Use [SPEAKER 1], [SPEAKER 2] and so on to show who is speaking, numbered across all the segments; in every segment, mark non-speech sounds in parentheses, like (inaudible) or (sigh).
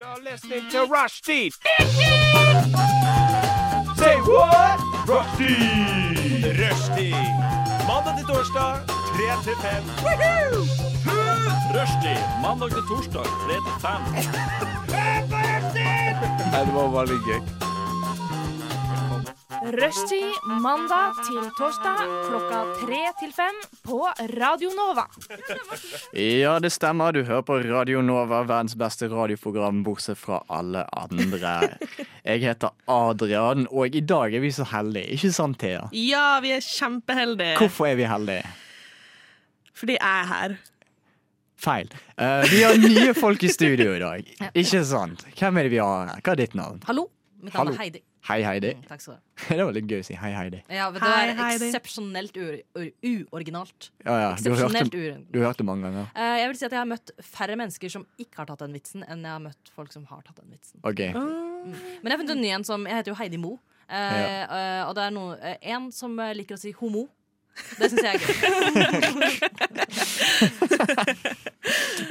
[SPEAKER 1] You're listening to Rushdie. Say what? Rushdie. Rushdie. Mandag til torsdag, 3 til 5. Rushdie. Mandag til torsdag, 3 til 5. Nei, det var veldig gøy.
[SPEAKER 2] Rushtid mandag til torsdag klokka tre til fem på Radio Nova.
[SPEAKER 3] Ja, det stemmer. Du hører på Radio Nova, verdens beste radioprogram, bortsett fra alle
[SPEAKER 4] (laughs)
[SPEAKER 3] andre. Jeg heter Adrian, og i dag er vi så heldige. Ikke sant, Thea?
[SPEAKER 5] Ja, vi er kjempeheldige
[SPEAKER 3] Hvorfor er vi heldige?
[SPEAKER 5] fordi jeg er her.
[SPEAKER 3] Feil. Eh, vi har nye folk i studio i dag. Ikke sant? Hvem er det vi har her? Hva er ditt navn?
[SPEAKER 4] Hallo, mitt navn
[SPEAKER 3] Hallo.
[SPEAKER 4] er Heidi.
[SPEAKER 3] Hei, Heidi.
[SPEAKER 4] Mm, Takk skal du ha.
[SPEAKER 3] (laughs) Det var litt gøy å si hei, Heidi.
[SPEAKER 4] Ja, vet du, det
[SPEAKER 5] Hei,
[SPEAKER 4] er
[SPEAKER 5] Heidi.
[SPEAKER 4] eksepsjonelt u- u- uoriginalt.
[SPEAKER 3] Ja, ja. Du har hørt
[SPEAKER 4] Eksepsjonelt
[SPEAKER 3] det,
[SPEAKER 4] uoriginalt.
[SPEAKER 3] du har hørt det mange ganger.
[SPEAKER 4] Eh, jeg vil si at jeg har møtt færre mennesker som ikke har tatt den vitsen, enn jeg har møtt folk som har tatt den vitsen.
[SPEAKER 3] OK.
[SPEAKER 4] Ah. Men jeg har funnet en ny en som Jeg heter jo Heidi Mo. eh, eh, og det er noe, eh, en som eh, liker å si homo. Det syns jeg er
[SPEAKER 3] (laughs)
[SPEAKER 4] gøy.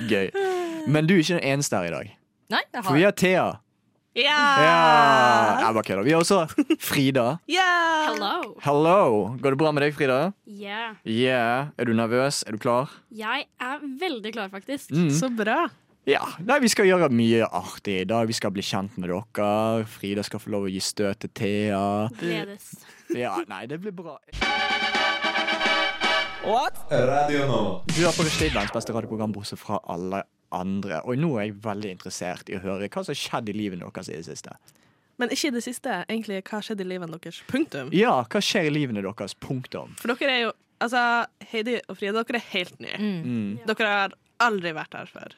[SPEAKER 3] Gøy. Men du er ikke den eneste her i dag.
[SPEAKER 4] Nei, jeg Ah.
[SPEAKER 3] For vi
[SPEAKER 4] har
[SPEAKER 3] har Thea. Ja.
[SPEAKER 5] Ja!
[SPEAKER 3] Jeg bare kødder. Vi har også Frida.
[SPEAKER 5] Ja!
[SPEAKER 6] Hello.
[SPEAKER 3] Hello. Går det bra med deg, Frida?
[SPEAKER 6] Yeah.
[SPEAKER 3] Yeah. Er du nervøs? Er du klar?
[SPEAKER 6] Jeg er veldig klar, faktisk.
[SPEAKER 3] Mm.
[SPEAKER 5] Så bra.
[SPEAKER 3] Ja. Nei, vi skal gjøre mye artig i dag. Vi skal bli kjent med dere. Frida skal få lov å gi støt til Thea.
[SPEAKER 6] Gledes.
[SPEAKER 3] Ja, nei, det blir bra.
[SPEAKER 7] Radio Nova.
[SPEAKER 3] Du har på Rushtidelands beste radioprogram, bortsett fra alle andre. Og nå er jeg veldig interessert i å høre hva som har skjedd i livet deres i det siste.
[SPEAKER 5] Men ikke i det siste. Egentlig, hva skjedde i livet deres? Punktum.
[SPEAKER 3] Ja, hva skjer i livene deres? Punktum.
[SPEAKER 5] For dere er jo Altså, Heidi og Frida, dere er helt nye.
[SPEAKER 3] Mm.
[SPEAKER 5] Dere har aldri vært her før.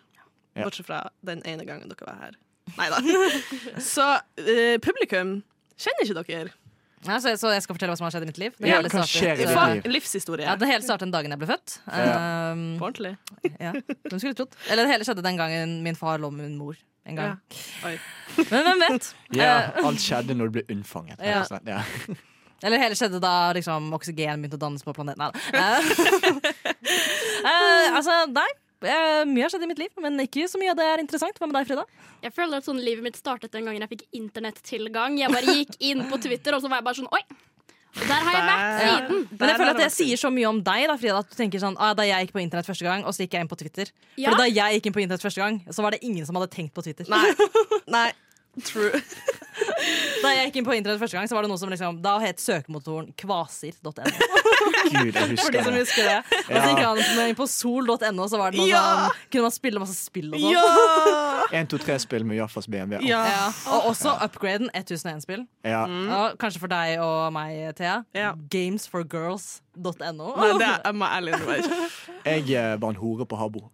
[SPEAKER 3] Ja.
[SPEAKER 5] Bortsett fra den ene gangen dere var her. Nei da. (laughs) Så eh, publikum kjenner ikke dere.
[SPEAKER 4] Nei, så, så jeg skal fortelle hva som har skjedd i mitt liv. Det
[SPEAKER 3] Ja,
[SPEAKER 4] hele
[SPEAKER 3] hva
[SPEAKER 4] startet-
[SPEAKER 3] skjer i ditt
[SPEAKER 4] så-
[SPEAKER 3] liv?
[SPEAKER 5] Fa livshistorie.
[SPEAKER 4] Ja, det hele startet den dagen jeg ble født.
[SPEAKER 3] Ja.
[SPEAKER 4] Um,
[SPEAKER 5] På ordentlig.
[SPEAKER 4] Ja, hvem skulle trodd? Eller det hele skjedde den gangen min far lå med min mor. En gang.
[SPEAKER 5] Oi.
[SPEAKER 4] Men hvem vet?
[SPEAKER 3] Ja, alt skjedde når du ble unnfanget. rett og slett. Ja.
[SPEAKER 4] Eller det hele skjedde da liksom, oksygen begynte å dannes på planeten. Nei,
[SPEAKER 5] (laughs)
[SPEAKER 4] da. Eh, eh, altså, nei. Eh, mye har skjedd i mitt liv, men ikke så mye av det er interessant. Hva med deg, Frida?
[SPEAKER 6] Jeg føler at sånn livet mitt startet den gangen jeg fikk internettilgang. Jeg bare gikk inn på Twitter, og så var jeg bare sånn Oi! Og der har jeg vært
[SPEAKER 5] Der-
[SPEAKER 6] siden.
[SPEAKER 5] der
[SPEAKER 4] Men jeg føler
[SPEAKER 5] har
[SPEAKER 4] at det
[SPEAKER 5] vært-
[SPEAKER 4] sier så mye om deg, da, Frida, at du tenker sånn ah, Da jeg gikk på internett første gang, og så gikk jeg inn på Twitter.
[SPEAKER 6] Ja.
[SPEAKER 4] For da jeg gikk inn på internett første gang, så var det ingen som hadde tenkt på Twitter.
[SPEAKER 5] Nei. Nei. True.
[SPEAKER 4] Da jeg gikk inn på internett første gang, så var det noe som liksom Da het søkemotoren kvasir.no.
[SPEAKER 3] (laughs) Gud, jeg
[SPEAKER 4] For de
[SPEAKER 3] husker
[SPEAKER 4] som
[SPEAKER 3] det.
[SPEAKER 4] husker det.
[SPEAKER 5] (laughs)
[SPEAKER 4] Og så gikk han på sol.no, så var det noe
[SPEAKER 5] Ja!
[SPEAKER 4] sånn, kunne man spille masse spill og sånn.
[SPEAKER 5] Ja!
[SPEAKER 3] 1-2-3-spill med Jaffas BMW.
[SPEAKER 5] Ja.
[SPEAKER 4] Ja. Og også upgraden 1001-spill.
[SPEAKER 3] Ja.
[SPEAKER 4] Og kanskje for deg og meg, Thea.
[SPEAKER 5] Ja.
[SPEAKER 4] Gamesforgirls.no.
[SPEAKER 5] Nei, det er Emma ærlig innrømme.
[SPEAKER 3] Jeg eh, var en hore på Habbo.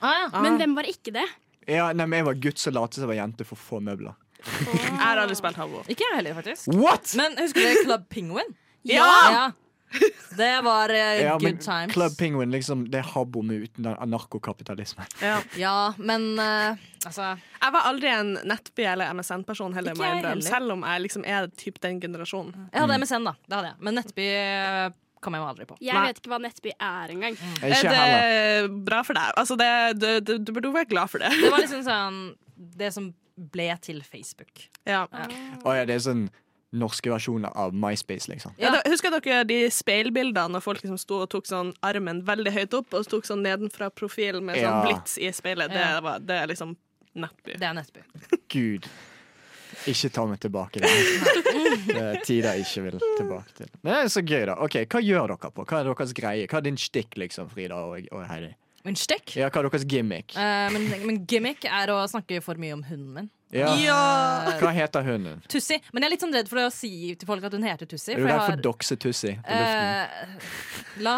[SPEAKER 4] Ah, ja.
[SPEAKER 6] Men hvem var ikke det?
[SPEAKER 3] Ja, nei, men Jeg var gutt som lot som jeg var jente for å få møbler.
[SPEAKER 5] Jeg har aldri spilt Habbo.
[SPEAKER 4] Ikke jeg heller, faktisk.
[SPEAKER 3] What?!
[SPEAKER 4] Men husker dere Club
[SPEAKER 3] (laughs)
[SPEAKER 4] Penguin?
[SPEAKER 5] Ja!
[SPEAKER 4] Det var eh,
[SPEAKER 3] Ja, men
[SPEAKER 4] good times.
[SPEAKER 3] Club Penguin, liksom, det er Habbo med uten den
[SPEAKER 4] (laughs)
[SPEAKER 3] anarkokapitalismen.
[SPEAKER 5] Ja.
[SPEAKER 4] Ja, men eh, altså
[SPEAKER 5] Jeg var aldri en nettby- eller MSN-person heller,
[SPEAKER 4] Ikke
[SPEAKER 5] må jeg
[SPEAKER 4] jeg
[SPEAKER 5] innrømme.
[SPEAKER 4] heller.
[SPEAKER 5] Selv om jeg liksom er typ den generasjonen.
[SPEAKER 4] Jeg
[SPEAKER 3] Mm.
[SPEAKER 4] hadde MSN, da. Det hadde jeg. Men Nettby eh, kom jeg meg aldri på.
[SPEAKER 6] Jeg
[SPEAKER 5] Nei.
[SPEAKER 6] vet ikke hva Nettby er engang.
[SPEAKER 3] Ikke
[SPEAKER 5] det
[SPEAKER 3] heller.
[SPEAKER 5] er bra for deg. Altså, det, du, du, du burde jo være glad for det.
[SPEAKER 4] Det var liksom sånn det som ble til Facebook.
[SPEAKER 5] Ja.
[SPEAKER 3] Å ja, det er sånn norske versjoner av MySpace, liksom.
[SPEAKER 5] Ja, da, husker dere de speilbildene når folk liksom sto og tok sånn armen veldig høyt opp og tok sånn nedenfra profilen med sånn
[SPEAKER 3] Ja.
[SPEAKER 5] blits i speilet? Det,
[SPEAKER 4] Ja.
[SPEAKER 5] var, det er liksom nettby.
[SPEAKER 4] Det er Nettby.
[SPEAKER 3] Gud. Ikke ta meg tilbake der. Det er tider jeg ikke vil tilbake til. Men det er så gøy, da. Ok, Hva gjør dere på? Hva er deres greie? Hva er din stikk, liksom, Frida og, og Heidi?
[SPEAKER 4] Min stikk?
[SPEAKER 3] Ja, hva er deres gimmick?
[SPEAKER 4] Eh, men, men gimmick er å snakke for mye om hunden min.
[SPEAKER 3] Ja.
[SPEAKER 5] Ja!
[SPEAKER 3] Hva heter hunden?
[SPEAKER 4] Tussi. Men jeg er litt sånn redd for å si til folk at hun heter Tussi.
[SPEAKER 3] Er du
[SPEAKER 4] jeg
[SPEAKER 3] redd
[SPEAKER 4] har-
[SPEAKER 3] for doksetussi på luften?
[SPEAKER 4] Eh, la,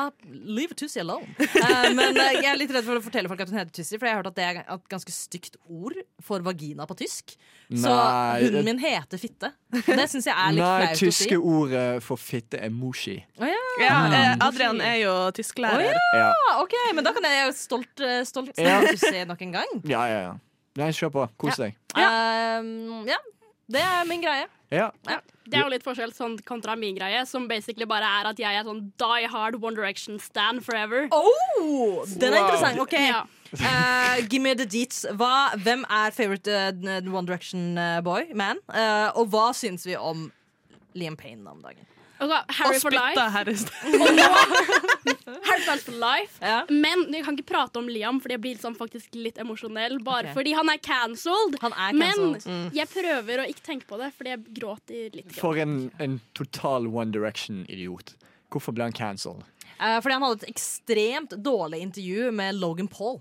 [SPEAKER 4] leave Tussi
[SPEAKER 3] (laughs)
[SPEAKER 4] alone. Eh, men eh, jeg er litt redd for å fortelle folk at hun heter Tussi, for jeg har hørt at det er et ganske stygt ord for vagina på tysk. Så
[SPEAKER 3] Nei, det-
[SPEAKER 4] hunden min heter fitte. Og det syns jeg er litt
[SPEAKER 3] Nei,
[SPEAKER 4] flaut å si.
[SPEAKER 3] tyske ordet for fitte er moshi.
[SPEAKER 4] Å ja.
[SPEAKER 5] Ja, eh, Adrian er jo tysklærer.
[SPEAKER 4] Å
[SPEAKER 3] Ja,
[SPEAKER 4] Ah, OK, men da kan jeg jo stolt, eh, stolt si
[SPEAKER 3] Ja.
[SPEAKER 4] Tussi nok en gang.
[SPEAKER 3] ja, ja. ja. Nei, kjør på. Kos deg.
[SPEAKER 4] Eh, ja. Det er min greie.
[SPEAKER 3] Ja.
[SPEAKER 6] Det er jo litt forskjell sånn kontra min greie, som basically bare er at jeg er sånn die hard One Direction stand forever.
[SPEAKER 4] Oh, den er interessant. Ok,
[SPEAKER 6] Ja.
[SPEAKER 4] Eh, give me the deets. Hva, hvem er favorite eh, One Direction-boy? man? Eh, og hva syns vi om Liam Payne om dagen?
[SPEAKER 6] Altså, Harry for life.
[SPEAKER 5] Spytta her i sted.
[SPEAKER 6] Harry Styles for life.
[SPEAKER 4] Ja.
[SPEAKER 6] Men jeg kan ikke prate om Liam, Fordi jeg blir liksom faktisk litt emosjonell. Bare
[SPEAKER 4] Ok.
[SPEAKER 6] fordi han er cancelled.
[SPEAKER 4] Han er
[SPEAKER 6] Men
[SPEAKER 4] cancelled. Mm.
[SPEAKER 6] jeg prøver å ikke tenke på det, fordi jeg gråter litt.
[SPEAKER 3] For en, en total One Direction-idiot. Hvorfor ble han cancelled?
[SPEAKER 4] Eh, fordi han hadde et ekstremt dårlig intervju med Logan Paul.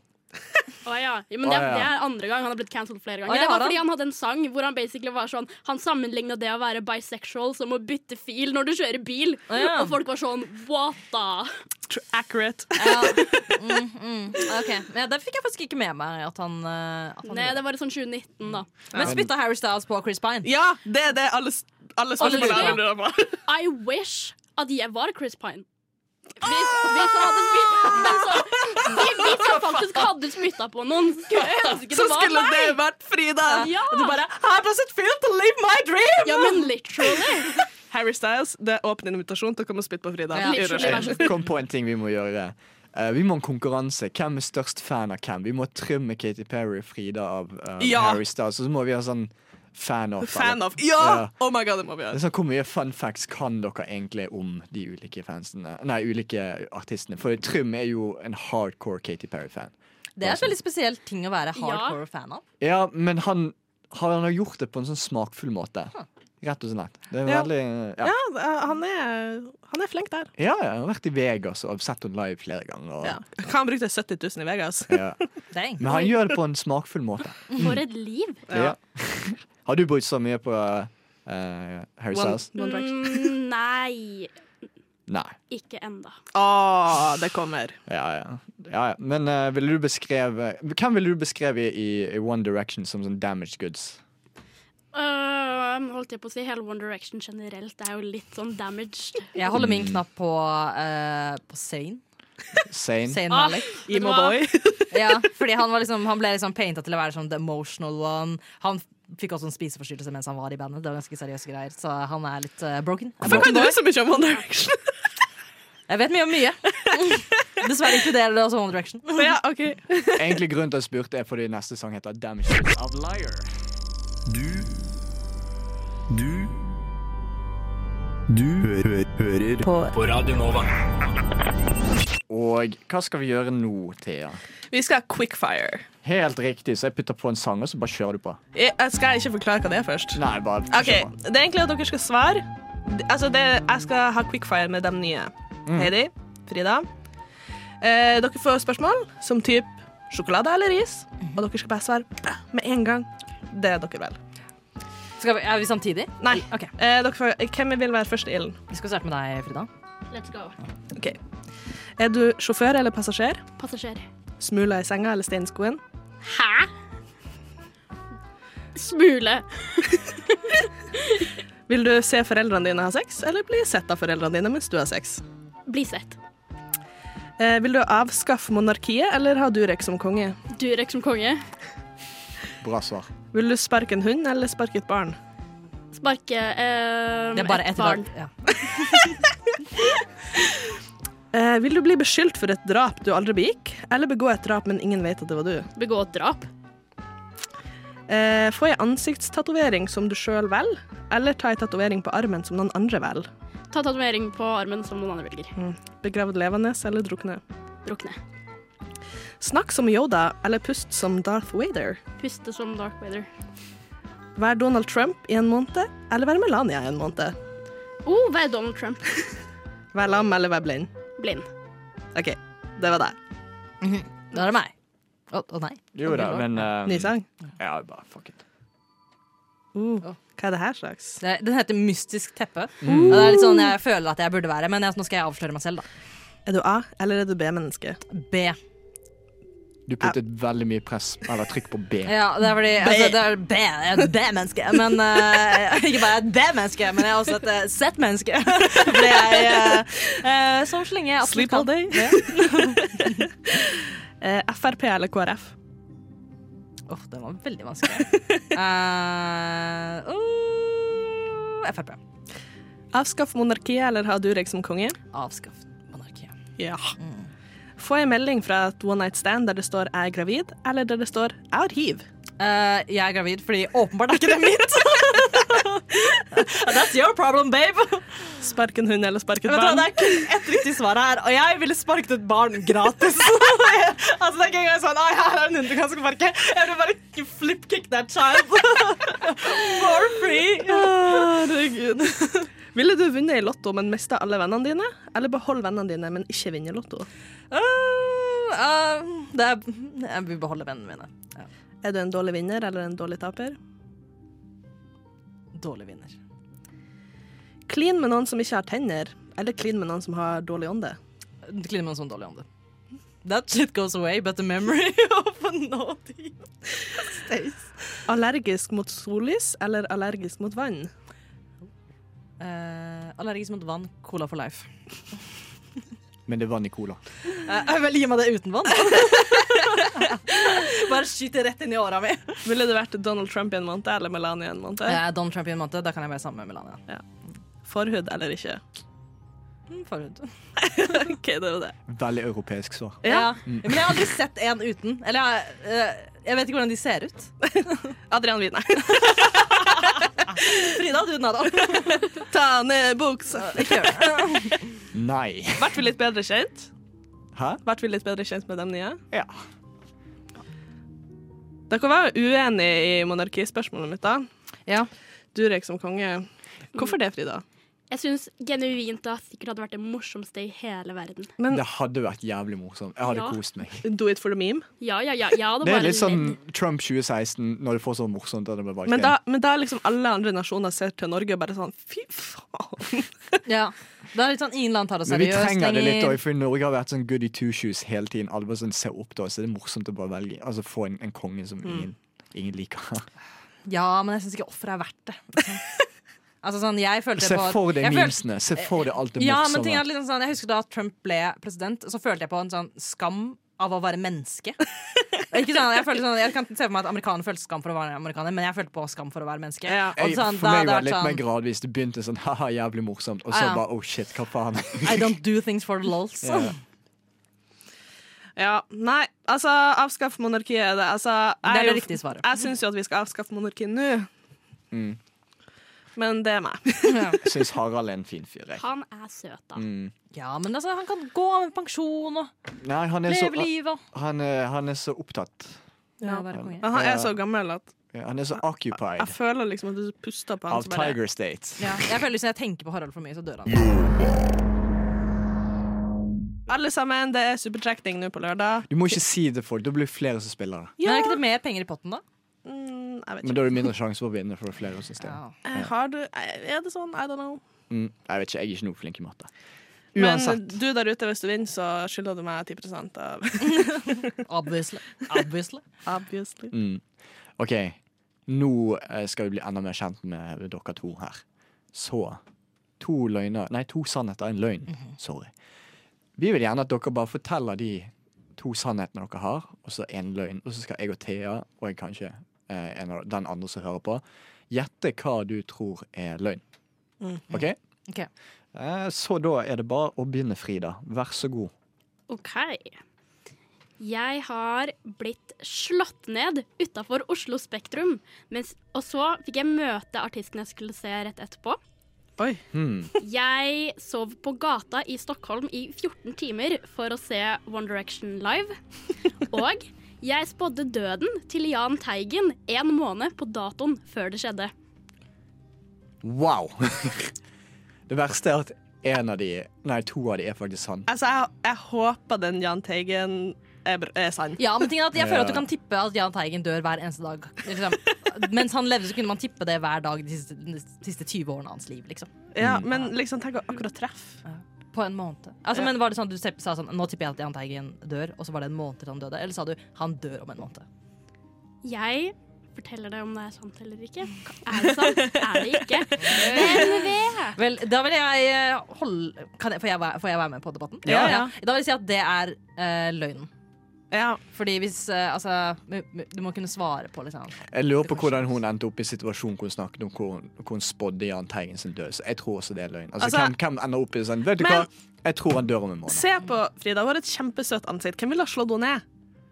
[SPEAKER 6] Å ja. Ja, Men det,
[SPEAKER 3] Å ja.
[SPEAKER 6] det er andre gang han har blitt cancelled flere ganger.
[SPEAKER 4] Å ja,
[SPEAKER 6] det
[SPEAKER 4] har
[SPEAKER 6] var
[SPEAKER 4] han?
[SPEAKER 6] fordi han hadde en sang hvor han basically var sånn Han sammenligna det å være bisexual som å bytte fil når du kjører bil.
[SPEAKER 4] Å ja.
[SPEAKER 6] Og folk var sånn What the?
[SPEAKER 5] Tr- Accurate.
[SPEAKER 4] Ja. Mm, mm. Ok, ja, Det fikk jeg faktisk ikke med meg. At han, eh, at han
[SPEAKER 6] Nei,
[SPEAKER 4] gjorde.
[SPEAKER 6] det var sånn 2019, da.
[SPEAKER 4] Men spytta Harry Styles på Chris Pine?
[SPEAKER 5] (laughs) Ja, det er det alle, s- alle spørsmål
[SPEAKER 4] lurer
[SPEAKER 5] er under drama.
[SPEAKER 6] I wish at jeg var Chris Pine. Hvis, hvis han hadde (laughs) spytt altså, hvis- Hvis han faktisk hadde spytta på
[SPEAKER 4] (laughs)
[SPEAKER 6] noen, skulle jeg ønske
[SPEAKER 5] Så
[SPEAKER 6] det var
[SPEAKER 5] skulle
[SPEAKER 6] meg!
[SPEAKER 5] det vært Frida!
[SPEAKER 6] Ja.
[SPEAKER 4] Og du bare How does it feel to live my dream?
[SPEAKER 6] Ja, men literally.
[SPEAKER 5] Harry Styles, det er åpen invitasjon til å komme og spytte på Frida.
[SPEAKER 4] Ja.
[SPEAKER 5] I
[SPEAKER 6] Literally, vær
[SPEAKER 5] rushtid.
[SPEAKER 6] så
[SPEAKER 3] Jeg kom på en ting vi må gjøre. Eh, vi må ha en konkurranse. Hvem er størst fan av hvem? Vi må trømme Katy Perry og Frida av eh,
[SPEAKER 5] Ja.
[SPEAKER 3] Harry Styles. Og så må vi ha sånn fan-off.
[SPEAKER 5] Fan
[SPEAKER 3] eller-
[SPEAKER 5] of. Ja!
[SPEAKER 3] Ja.
[SPEAKER 5] Oh my god, det må vi
[SPEAKER 3] Det
[SPEAKER 5] gjøre.
[SPEAKER 3] er sånn, Hvor mye fun facts kan dere egentlig om de ulike fansene Nei, ulike artistene? For Trym er jo en hardcore Katy Perry-fan.
[SPEAKER 4] Det er et veldig spesiell ting å være hardcore fan av.
[SPEAKER 3] Ja, men han, han har gjort det på en sånn smakfull måte. Rett og slett. Det er
[SPEAKER 5] Ja.
[SPEAKER 3] veldig Ja,
[SPEAKER 5] Ja, det er- han er, han er flink der.
[SPEAKER 3] ja, ja jeg har vært i Vegas og sett henne live flere ganger. Og,
[SPEAKER 5] Ja. Han brukte 70 000 i Vegas.
[SPEAKER 3] (laughs) ja.
[SPEAKER 4] Dang.
[SPEAKER 3] Men han gjør det på en smakfull måte.
[SPEAKER 6] For et liv.
[SPEAKER 3] Ja. Har du brukt så mye på eh, Harry
[SPEAKER 5] One,
[SPEAKER 3] Styles?
[SPEAKER 5] one direction.
[SPEAKER 6] Mm, nei,
[SPEAKER 3] Nei.
[SPEAKER 6] ikke enda
[SPEAKER 5] Åh, Ah, det kommer.
[SPEAKER 3] Ja, ja. ja, ja. Men eh, ville du beskreve Hvem ville du beskreve i, i One Direction som sånn damaged goods?
[SPEAKER 6] Øh, holdt jeg på å si hele One Direction generelt. Det er jo litt sånn damaged.
[SPEAKER 4] Jeg holder min knapp på, eh, på Zayn.
[SPEAKER 3] Sane?
[SPEAKER 4] Zayn
[SPEAKER 6] Ah,
[SPEAKER 4] Malik.
[SPEAKER 6] vet du
[SPEAKER 5] Emo
[SPEAKER 6] hva?
[SPEAKER 5] boy. (laughs)
[SPEAKER 4] Ja, fordi han, var liksom, han ble liksom painta til å være sånn the emotional one. Han fikk også en spiseforstyrrelse mens han var i bandet. Det var ganske seriøse greier Så han er litt eh, broken.
[SPEAKER 5] Hvorfor kan du så mye om One Direction?
[SPEAKER 4] Jeg vet mye om (laughs) mye. Dessverre inkluderer det også One Direction.
[SPEAKER 5] (laughs) ja, ok.
[SPEAKER 3] Egentlig grunnen til at jeg spurte er fordi neste sang heter Damaged Goods of Liar.
[SPEAKER 8] Du Du Du hø hø hører på. på Radio Nova.
[SPEAKER 3] Og hva skal vi gjøre nå, Thea?
[SPEAKER 5] Vi skal ha quickfire.
[SPEAKER 3] Helt riktig, så jeg putter på en sang, og så bare kjører du på.
[SPEAKER 5] Jeg, skal jeg ikke forklare hva det er først?
[SPEAKER 3] Nei, bare
[SPEAKER 5] Ok, Det er egentlig at dere skal svare. Det- Altså, det, jeg skal ha quickfire med de nye. Heidi, Frida. Eh, dere får spørsmål som type sjokolade eller ris, og dere skal bare svare bah, med en gang. Det er dere vel.
[SPEAKER 4] Skal vi, er vi samtidig?
[SPEAKER 5] Nei.
[SPEAKER 4] Ok.
[SPEAKER 5] Eh, dere får, hvem vil være først i ilden?
[SPEAKER 4] Vi skal starte med deg, Frida.
[SPEAKER 6] Let's go.
[SPEAKER 5] Ok. Er du sjåfør eller passasjer?
[SPEAKER 6] Passasjer.
[SPEAKER 5] Smula i senga eller stein i skoen?
[SPEAKER 6] Hæ? Smule.
[SPEAKER 5] Vil du se foreldrene dine ha sex, eller bli sett av foreldrene dine mens du har sex?
[SPEAKER 6] Bli sett.
[SPEAKER 5] Eh, vil du avskaffe monarkiet, eller ha Durek som konge?
[SPEAKER 6] Durek som konge.
[SPEAKER 3] Bra svar.
[SPEAKER 5] Vil du sparke en hund, eller sparke et barn?
[SPEAKER 6] Sparke øh,
[SPEAKER 4] Det er bare
[SPEAKER 6] et
[SPEAKER 4] ett
[SPEAKER 6] barn.
[SPEAKER 4] barn. Ja.
[SPEAKER 5] Eh, vil du bli beskyldt for et drap du aldri begikk, eller begå et drap, men ingen vet at det var du?
[SPEAKER 6] Begå et drap.
[SPEAKER 5] Eh, få ei ansiktstatovering som du sjøl velger, eller ta ei tatovering på armen som noen andre velger?
[SPEAKER 6] Ta tatovering på armen som noen andre velger.
[SPEAKER 4] Mm.
[SPEAKER 5] Begravd levende eller drukne?
[SPEAKER 6] Drukne.
[SPEAKER 5] Snakk som Yoda, eller pust som Darth Vader?
[SPEAKER 6] Puste som Dark Weather.
[SPEAKER 5] Vær Donald Trump i en måned, eller vær Melania i en måned?
[SPEAKER 6] Oh, vær Donald Trump.
[SPEAKER 5] Vær lam, eller vær blind?
[SPEAKER 6] Blind.
[SPEAKER 5] OK, det var det.
[SPEAKER 4] Da er det meg. Å å nei.
[SPEAKER 3] Jo da, men eh,
[SPEAKER 5] Ny sang.
[SPEAKER 3] Ja, bare fuck it.
[SPEAKER 5] Uh, hva er det her slags?
[SPEAKER 4] Det- Den heter Mystisk teppe. Og det er litt sånn jeg føler at jeg burde være, men jeg, nå skal jeg avsløre meg selv, da.
[SPEAKER 5] Er du A, eller er du B-menneske?
[SPEAKER 4] B.
[SPEAKER 3] Du puttet veldig mye press, eller trykk på B.
[SPEAKER 4] Ja, det er fordi altså, det er B, jeg er et B-menneske. Men eh, (laughs) ikke bare et B-menneske, men jeg er også et eh, Z-menneske. (laughs) Fordi jeg eh, eh, Så så lenge jeg absolutt
[SPEAKER 5] Sleep all
[SPEAKER 4] kan.
[SPEAKER 5] day. (laughs) Eh, Frp eller KrF?
[SPEAKER 4] Åh, den var veldig vanskelig. Eh, oh, Frp.
[SPEAKER 5] Avskaff monarkiet eller ha Durek som konge?
[SPEAKER 4] Avskaff monarkiet.
[SPEAKER 5] Ja. Får jeg melding fra et one night stand der det står 'jeg er gravid', eller der det står 'jeg har hiv'?
[SPEAKER 4] Eh, jeg er gravid, fordi åpenbart er ikke det mitt. (laughs) That's your problem, babe.
[SPEAKER 5] Sparken hund eller sparket
[SPEAKER 4] Vet du hva,
[SPEAKER 5] barn?
[SPEAKER 4] det er kun ett riktig svar her, og jeg ville sparket et barn
[SPEAKER 5] (laughs)
[SPEAKER 4] gratis. altså, det er ikke engang sånn Nei, her er en hund du kan sparke. Jeg ville bare flipkick that child. (laughs) For free.
[SPEAKER 5] Ah, Herregud. Ville du vunnet i Lotto, men mista alle vennene dine? Eller beholde vennene dine, men ikke vinne i Lotto?
[SPEAKER 4] Eh, eh, det er, jeg vil beholde vennene mine. Ja.
[SPEAKER 5] Er du en dårlig vinner eller en dårlig taper?
[SPEAKER 4] Dårlig vinner.
[SPEAKER 5] Klin med noen som ikke har tenner, eller klin med noen som har dårlig ånde?
[SPEAKER 4] Det kliner med en sånn dårlig ånde. That shit goes away, but the memory (laughs) of a naughty stays.
[SPEAKER 5] Allergisk mot sollys eller allergisk mot vann?
[SPEAKER 4] Eh, allergisk mot vann, cola for life.
[SPEAKER 3] Men det var Nicola.
[SPEAKER 4] Eh, Jeg vil gi meg det uten vann. (laughs) Bare skyte rett inn i åra mi.
[SPEAKER 5] Ville det vært Donald Trump i en måned eller Melania i en måned?
[SPEAKER 4] Jeg er Don Eh, Trump i en måned, da kan jeg være sammen med Melania.
[SPEAKER 5] Forhud eller ikke?
[SPEAKER 4] Mm, Forhud.
[SPEAKER 5] OK, det er jo det.
[SPEAKER 3] Veldig europeisk svar.
[SPEAKER 4] Ja. Mm. Men jeg har aldri sett en uten. Eller jeg, eh, jeg vet ikke hvordan de ser ut.
[SPEAKER 5] Adrian Wiener.
[SPEAKER 4] Frida, du Nada.
[SPEAKER 5] Ta ned buksa.
[SPEAKER 4] Ikke gjør det.
[SPEAKER 3] Nei.
[SPEAKER 5] Vart vi litt bedre kjent?
[SPEAKER 3] Hæ?
[SPEAKER 5] Vart vi litt bedre kjent med dem nye?
[SPEAKER 3] Ja.
[SPEAKER 5] Dere var jo uenige i monarkispørsmålet mitt, da.
[SPEAKER 4] Ja.
[SPEAKER 5] Durek som konge. Hvorfor det, Frida?
[SPEAKER 6] Jeg syns genuint det sikkert hadde vært det morsomste i hele verden.
[SPEAKER 3] Det hadde vært jævlig morsomt. Jeg hadde
[SPEAKER 6] Ja.
[SPEAKER 3] kost meg.
[SPEAKER 5] Do it for the meme.
[SPEAKER 6] Ja, ja, ja. ja det,
[SPEAKER 3] Det er
[SPEAKER 6] bare
[SPEAKER 3] litt sånn
[SPEAKER 6] ledd.
[SPEAKER 3] Trump 2016, når du får sånn morsomt at det blir valgt
[SPEAKER 5] Men
[SPEAKER 3] inn.
[SPEAKER 5] da, men da liksom alle andre nasjoner ser til Norge og bare sånn Fy faen.
[SPEAKER 4] (laughs) ja. Det er litt sånn ingen land tar det
[SPEAKER 3] Men vi
[SPEAKER 4] seriøst
[SPEAKER 3] trenger det litt
[SPEAKER 4] lenger.
[SPEAKER 3] òg, for Norge har vært sånn goody two shoes hele tiden. Alle bare sånn ser opp til oss, så det er morsomt å bare velge Altså få en, en konge som
[SPEAKER 4] Mm.
[SPEAKER 3] ingen, ingen liker.
[SPEAKER 4] Ja, men jeg syns ikke offeret er (laughs) verdt det. Altså sånn, jeg følte
[SPEAKER 3] (laughs) Se
[SPEAKER 4] på
[SPEAKER 3] for deg
[SPEAKER 4] jeg følte-
[SPEAKER 3] memesene. Se for deg alt det
[SPEAKER 4] Ja, men ting er
[SPEAKER 3] morsomme.
[SPEAKER 4] liksom sånn, Jeg husker da Trump ble president, så følte jeg på en sånn skam av å være
[SPEAKER 3] (laughs)
[SPEAKER 4] menneske. Ikke sånn, jeg, følte sånn, jeg kan se for meg at amerikaner følte skam for å være amerikaner, men jeg følte på skam for å være menneske.
[SPEAKER 5] Ja.
[SPEAKER 4] Og
[SPEAKER 3] Jeg,
[SPEAKER 4] sånn,
[SPEAKER 3] for
[SPEAKER 4] da
[SPEAKER 3] meg
[SPEAKER 4] hadde jeg
[SPEAKER 3] var det litt mer
[SPEAKER 4] vært sånn,
[SPEAKER 3] gradvis. Det begynte sånn (laughs) haha, jævlig morsomt, og så
[SPEAKER 4] Ja. sånn.
[SPEAKER 3] bare oh shit, hva
[SPEAKER 4] (laughs)
[SPEAKER 3] faen.
[SPEAKER 4] I don't do things for the lols.
[SPEAKER 3] (laughs) Ja.
[SPEAKER 5] (laughs) Ja, nei, altså, avskaff monarkiet er det. Altså,
[SPEAKER 4] Det
[SPEAKER 5] jeg
[SPEAKER 4] er det
[SPEAKER 5] jo-
[SPEAKER 4] riktige svaret.
[SPEAKER 5] Jeg syns jo at vi skal avskaffe monarkiet nå.
[SPEAKER 3] Mm.
[SPEAKER 5] Men det er meg.
[SPEAKER 3] Jeg syns Harald er en fin fyr, jeg.
[SPEAKER 6] Han er søt, da.
[SPEAKER 4] Ja, men altså, han kan gå av med pensjon og
[SPEAKER 3] Nei, han er så,
[SPEAKER 4] leve livet og
[SPEAKER 3] han er, han er så opptatt.
[SPEAKER 4] ja, være konge.
[SPEAKER 5] Men han
[SPEAKER 3] Ja.
[SPEAKER 5] er så gammel at
[SPEAKER 3] Ja, Han er så
[SPEAKER 5] jeg
[SPEAKER 3] occupied
[SPEAKER 5] føler liksom at du puster på han.
[SPEAKER 3] av
[SPEAKER 5] så bare-
[SPEAKER 3] Tiger State.
[SPEAKER 4] Ja, jeg føler Hvis jeg tenker på Harald for mye, så dør han.
[SPEAKER 5] Alle sammen, det er supertrekning nå på lørdag.
[SPEAKER 3] Du må ikke si det til folk, da blir det flere som spiller det.
[SPEAKER 4] Men er ikke det mer penger i potten, da?
[SPEAKER 5] Mm, jeg vet
[SPEAKER 3] Men
[SPEAKER 5] ikke.
[SPEAKER 3] da er det mindre sjanse for å vinne, for det er flere som stemmer.
[SPEAKER 5] Eh, Har du, eh, er det sånn? I don't know.
[SPEAKER 3] Mm, jeg vet ikke, jeg er ikke noe flink i matte.
[SPEAKER 5] Men
[SPEAKER 3] Uansett.
[SPEAKER 5] du der ute, hvis du vinner, så skylder du meg 10 av
[SPEAKER 3] (laughs)
[SPEAKER 5] (laughs)
[SPEAKER 4] Obviously. Obviously.
[SPEAKER 5] Obviously.
[SPEAKER 3] Mm. OK, nå eh, skal vi bli enda mer kjent med dere to her. Så to løgner Nei, to sannheter er en løgn. Sorry. Vi vil gjerne at dere bare forteller de to sannhetene dere har, og så en løgn. Og så skal jeg og Thea, og jeg kanskje eh, en av den andre som hører på, gjette hva du tror er løgn. OK?
[SPEAKER 4] Ok.
[SPEAKER 3] Eh, så da er det bare å begynne, Frida. Vær så god.
[SPEAKER 6] OK. Jeg har blitt slått ned utafor Oslo Spektrum. Mens, og så fikk jeg møte artisten jeg skulle se rett etterpå.
[SPEAKER 5] Oi.
[SPEAKER 6] Jeg sov på gata i Stockholm i 14 timer for å se One Direction live. Og jeg spådde døden til Jahn Teigen en måned på datoen før det skjedde.
[SPEAKER 3] Wow! (laughs) det verste er at en av de, nei, to av de er faktisk sann.
[SPEAKER 5] Altså, jeg, jeg håper den Jahn Teigen er, br- er sann.
[SPEAKER 4] Ja, men tingen er at Jeg føler at du
[SPEAKER 3] Ja.
[SPEAKER 4] kan tippe at Jahn Teigen dør hver eneste dag. Liksom. Mens han levde, så kunne man tippe det hver dag de siste, de siste 20 årene av hans liv. Liksom.
[SPEAKER 5] Ja, men liksom, tenk å akkurat treffe.
[SPEAKER 4] På en måned. Altså,
[SPEAKER 5] Ja.
[SPEAKER 4] Men var det sånn at Du tepp- sa sånn Nå tipper jeg at Jahn Teigen dør, og så var det en måned til han døde? Eller sa du han dør om en måned?
[SPEAKER 6] Jeg forteller deg om det er sant eller ikke. Er det sant? Er det ikke? Hvem vet?
[SPEAKER 4] Vel, da vil jeg eh, holde kan jeg, får, jeg, væ- får jeg være med på debatten?
[SPEAKER 5] Ja, ja.
[SPEAKER 4] Da vil jeg si at det er eh, løgnen.
[SPEAKER 5] Ja.
[SPEAKER 4] Fordi hvis eh, Altså, m- m- du må kunne svare på, liksom.
[SPEAKER 3] Jeg lurer på hvordan hun endte opp i situasjonen hvor hun snakket om hvor hun, hvor hun spådde Jahn Teigen sin død. Så jeg tror også det er løgn. Altså,
[SPEAKER 5] Altså-
[SPEAKER 3] hvem, hvem ender opp i sånn Vet du
[SPEAKER 5] Men-
[SPEAKER 3] hva, jeg tror han dør om en måned.
[SPEAKER 5] Se på Frida, hun har et kjempesøtt ansikt. Hvem ville ha slått henne ned?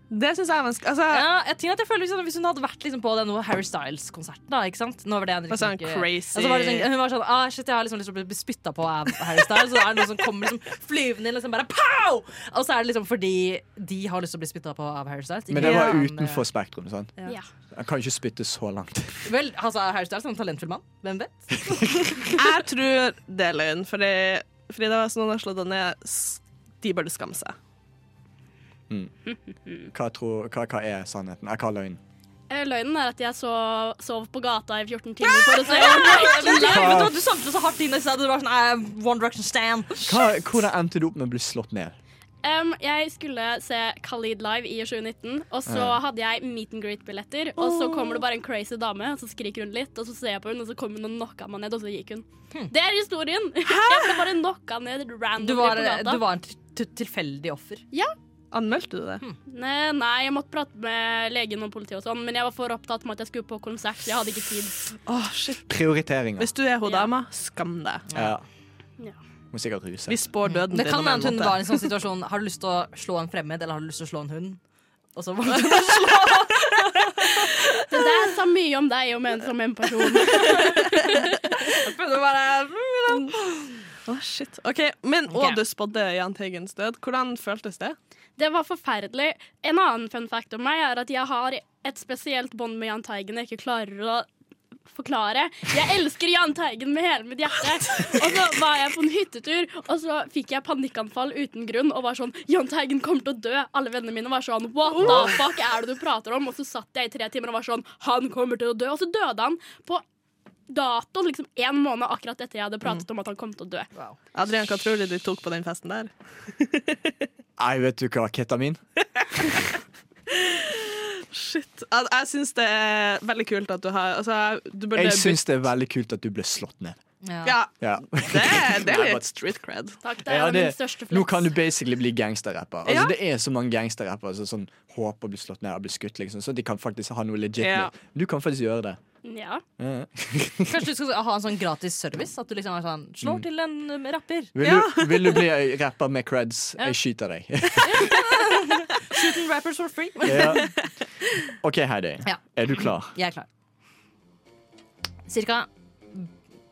[SPEAKER 5] Det syns jeg er vanskelig. Altså,
[SPEAKER 4] Ja, jeg tenker at jeg føler liksom, Hvis hun hadde vært liksom, på den Harry Styles-konserten, da ikke sant? Nå var det en
[SPEAKER 5] Var sånn
[SPEAKER 4] ikke-
[SPEAKER 5] crazy.
[SPEAKER 4] Ja, så var det sånn, Hun var sånn ah, shit, Jeg har liksom lyst til å bli spytta på av Harry Styles. Og så er det noen som kommer liksom, flyvende inn liksom bare pow! Og så er det liksom fordi de har lyst til å bli spytta på av Harry Styles.
[SPEAKER 3] Men det var
[SPEAKER 4] Ikke-
[SPEAKER 3] utenfor Spektrum. sant?
[SPEAKER 4] Ja.
[SPEAKER 6] Ja.
[SPEAKER 3] Han kan ikke spytte så langt. (laughs)
[SPEAKER 4] Vel, altså, Harry Styles er en talentfull mann. Hvem vet?
[SPEAKER 5] (laughs) Jeg tror det er løgn, fordi Frida, hvis noen har slått henne ned, s- de burde skamme seg.
[SPEAKER 3] Hva, tror, hva, hva er sannheten? Eh, Hva er løgnen?
[SPEAKER 6] Eh, Løgnen er at jeg sov, sov på gata i 14 timer for å se One
[SPEAKER 4] (laughs)
[SPEAKER 6] Direction Live.
[SPEAKER 4] Vet du hva, Du samlet så hardt inn i stedet. Du var sånn eh, One Direction Stan.
[SPEAKER 3] Hva, hvordan endte du opp med å bli slått ned?
[SPEAKER 6] Em, jeg skulle se Khalid live i 2019, og så hadde jeg meet and greet-billetter. Og så kommer det bare en crazy dame, og så skriker hun litt, og så ser jeg på hun, og så kom hun og knocka meg ned, og så gikk hun. Det er historien! (laughs) Jeg ble bare knocka ned
[SPEAKER 4] Hm. Du
[SPEAKER 6] randomly
[SPEAKER 4] var,
[SPEAKER 6] på gata.
[SPEAKER 4] du var en til- til- tilfeldig offer.
[SPEAKER 5] Anmeldte du det?
[SPEAKER 4] Hmm.
[SPEAKER 6] Ne- Nei, jeg måtte prate med legen og politiet og sånn, men jeg var for opptatt med at jeg skulle på konsert, så jeg hadde ikke tid.
[SPEAKER 5] Åh, shit.
[SPEAKER 3] Prioriteringer.
[SPEAKER 5] Hvis du er hun
[SPEAKER 6] Ja.
[SPEAKER 5] dama, skam deg.
[SPEAKER 3] Ja.
[SPEAKER 6] Ja.
[SPEAKER 3] Må sikkert ruse.
[SPEAKER 5] Vi spår døden
[SPEAKER 4] Hmm. Det
[SPEAKER 5] din
[SPEAKER 4] kan
[SPEAKER 5] om en
[SPEAKER 4] hende hun
[SPEAKER 5] måned.
[SPEAKER 4] var i en sånn situasjon Har du lyst til å slå en fremmed, eller har du lyst til å slå en hund? Og så valgte hun å slå
[SPEAKER 6] Det der sa mye om deg og meg som en person.
[SPEAKER 4] henne. Bare,
[SPEAKER 5] Åh, shit. OK, men
[SPEAKER 4] Ok.
[SPEAKER 5] å, du spådde Jahn Teigens død. Hvordan føltes det?
[SPEAKER 6] Det var forferdelig. En annen fun fact om meg er at jeg har et spesielt bånd med Jahn Teigen jeg ikke klarer å forklare. Jeg elsker Jahn Teigen med hele mitt hjerte. Og så var jeg på en hyttetur, og så fikk jeg panikkanfall uten grunn og var sånn Jahn Teigen kommer til å dø. Alle vennene mine var sånn What the fuck er det du prater om? Og så satt jeg i tre timer og var sånn Han kommer til å dø. Og så døde han på datoen liksom en måned akkurat etter jeg hadde
[SPEAKER 3] Mm.
[SPEAKER 6] pratet om at han kom til å dø.
[SPEAKER 5] Adrian, hva tror du du tok på den festen der?
[SPEAKER 3] Nei, vet du hva, ketamin?
[SPEAKER 5] Shit. Jeg, jeg syns det er veldig kult at du har altså, du burde
[SPEAKER 3] Jeg syns det er veldig kult at du ble slått ned.
[SPEAKER 4] ja.
[SPEAKER 5] Ja,
[SPEAKER 3] Ja.
[SPEAKER 5] det, er- det
[SPEAKER 3] Nei,
[SPEAKER 5] er
[SPEAKER 3] but-
[SPEAKER 5] litt street cred.
[SPEAKER 6] Takk, det er
[SPEAKER 3] Ja, det,
[SPEAKER 6] min største
[SPEAKER 3] nå
[SPEAKER 6] flex.
[SPEAKER 3] kan du basically bli gangsterrapper. Altså,
[SPEAKER 5] Ja.
[SPEAKER 3] Det er så mange gangsterrappere som sånn, håper å bli slått ned og bli skutt, liksom, så de kan faktisk ha noe legit.
[SPEAKER 5] Ja.
[SPEAKER 3] med. Du kan faktisk gjøre det.
[SPEAKER 6] Ja.
[SPEAKER 3] Ja.
[SPEAKER 4] Kanskje du skal ha en sånn gratis service? At du liksom er sånn Slår til en um, rapper.
[SPEAKER 3] Vil, du, vil du bli ei rapper med creds? Jeg skyter deg.
[SPEAKER 4] Shooting rappers for free.
[SPEAKER 3] ja. OK, Heidi.
[SPEAKER 4] Ja.
[SPEAKER 3] Er du klar?
[SPEAKER 4] Jeg er klar. Cirka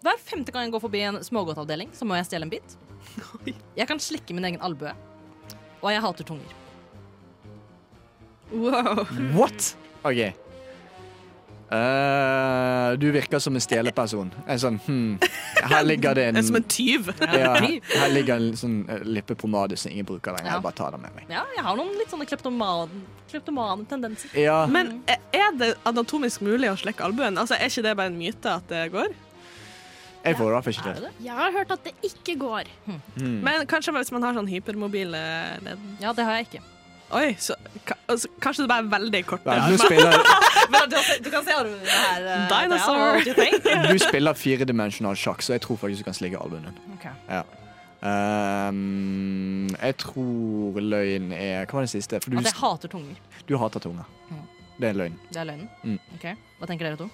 [SPEAKER 4] hver femte gang jeg går forbi en smågodtavdeling, så må jeg stjele en bit. Jeg kan slikke min egen albue. Og jeg hater tunger.
[SPEAKER 5] Wow.
[SPEAKER 3] What? OK. Eh, du virker som en stjeleperson. En sånn hmm. Her ligger det en
[SPEAKER 5] Jeg er som (laughs) en tyv.
[SPEAKER 3] Mm. ja,
[SPEAKER 5] (laughs)
[SPEAKER 3] Her ligger en sånn eh, lippepomade som ingen bruker lenger.
[SPEAKER 4] Ja.
[SPEAKER 3] Jeg bare tar den med meg.
[SPEAKER 4] Ja, jeg har noen litt sånne kleptoman- kleptomane tendenser.
[SPEAKER 3] Ja.
[SPEAKER 5] Men er- er det anatomisk mulig å slekke albuen? Altså, er ikke det bare en myte at det går?
[SPEAKER 3] Jeg får i hvert fall ikke
[SPEAKER 4] Er
[SPEAKER 3] det.
[SPEAKER 4] det det?
[SPEAKER 6] Jeg har hørt at det ikke går.
[SPEAKER 3] Mm.
[SPEAKER 5] Men kanskje hvis man har sånn hypermobile ledd
[SPEAKER 4] Ja, det har jeg ikke.
[SPEAKER 5] Oi, så ka- altså, kanskje det bare er veldig korte
[SPEAKER 3] Vent, nå
[SPEAKER 5] armer.
[SPEAKER 3] spiller
[SPEAKER 4] (laughs) Men du, du kan se armene her. eh,
[SPEAKER 5] Dinosaur.
[SPEAKER 4] Thea, don't you think?
[SPEAKER 3] Du spiller firedimensjonal sjakk, så jeg tror faktisk du kan sligge albuen din.
[SPEAKER 4] (laughs) Ok.
[SPEAKER 3] Ja. Ehm, jeg tror løgn er Hva var det siste? For du,
[SPEAKER 4] At jeg hater tunger.
[SPEAKER 3] du hater tunga. Det er løgn.
[SPEAKER 4] Det er løgnen.
[SPEAKER 3] Mm.
[SPEAKER 4] Ok, Hva tenker dere to?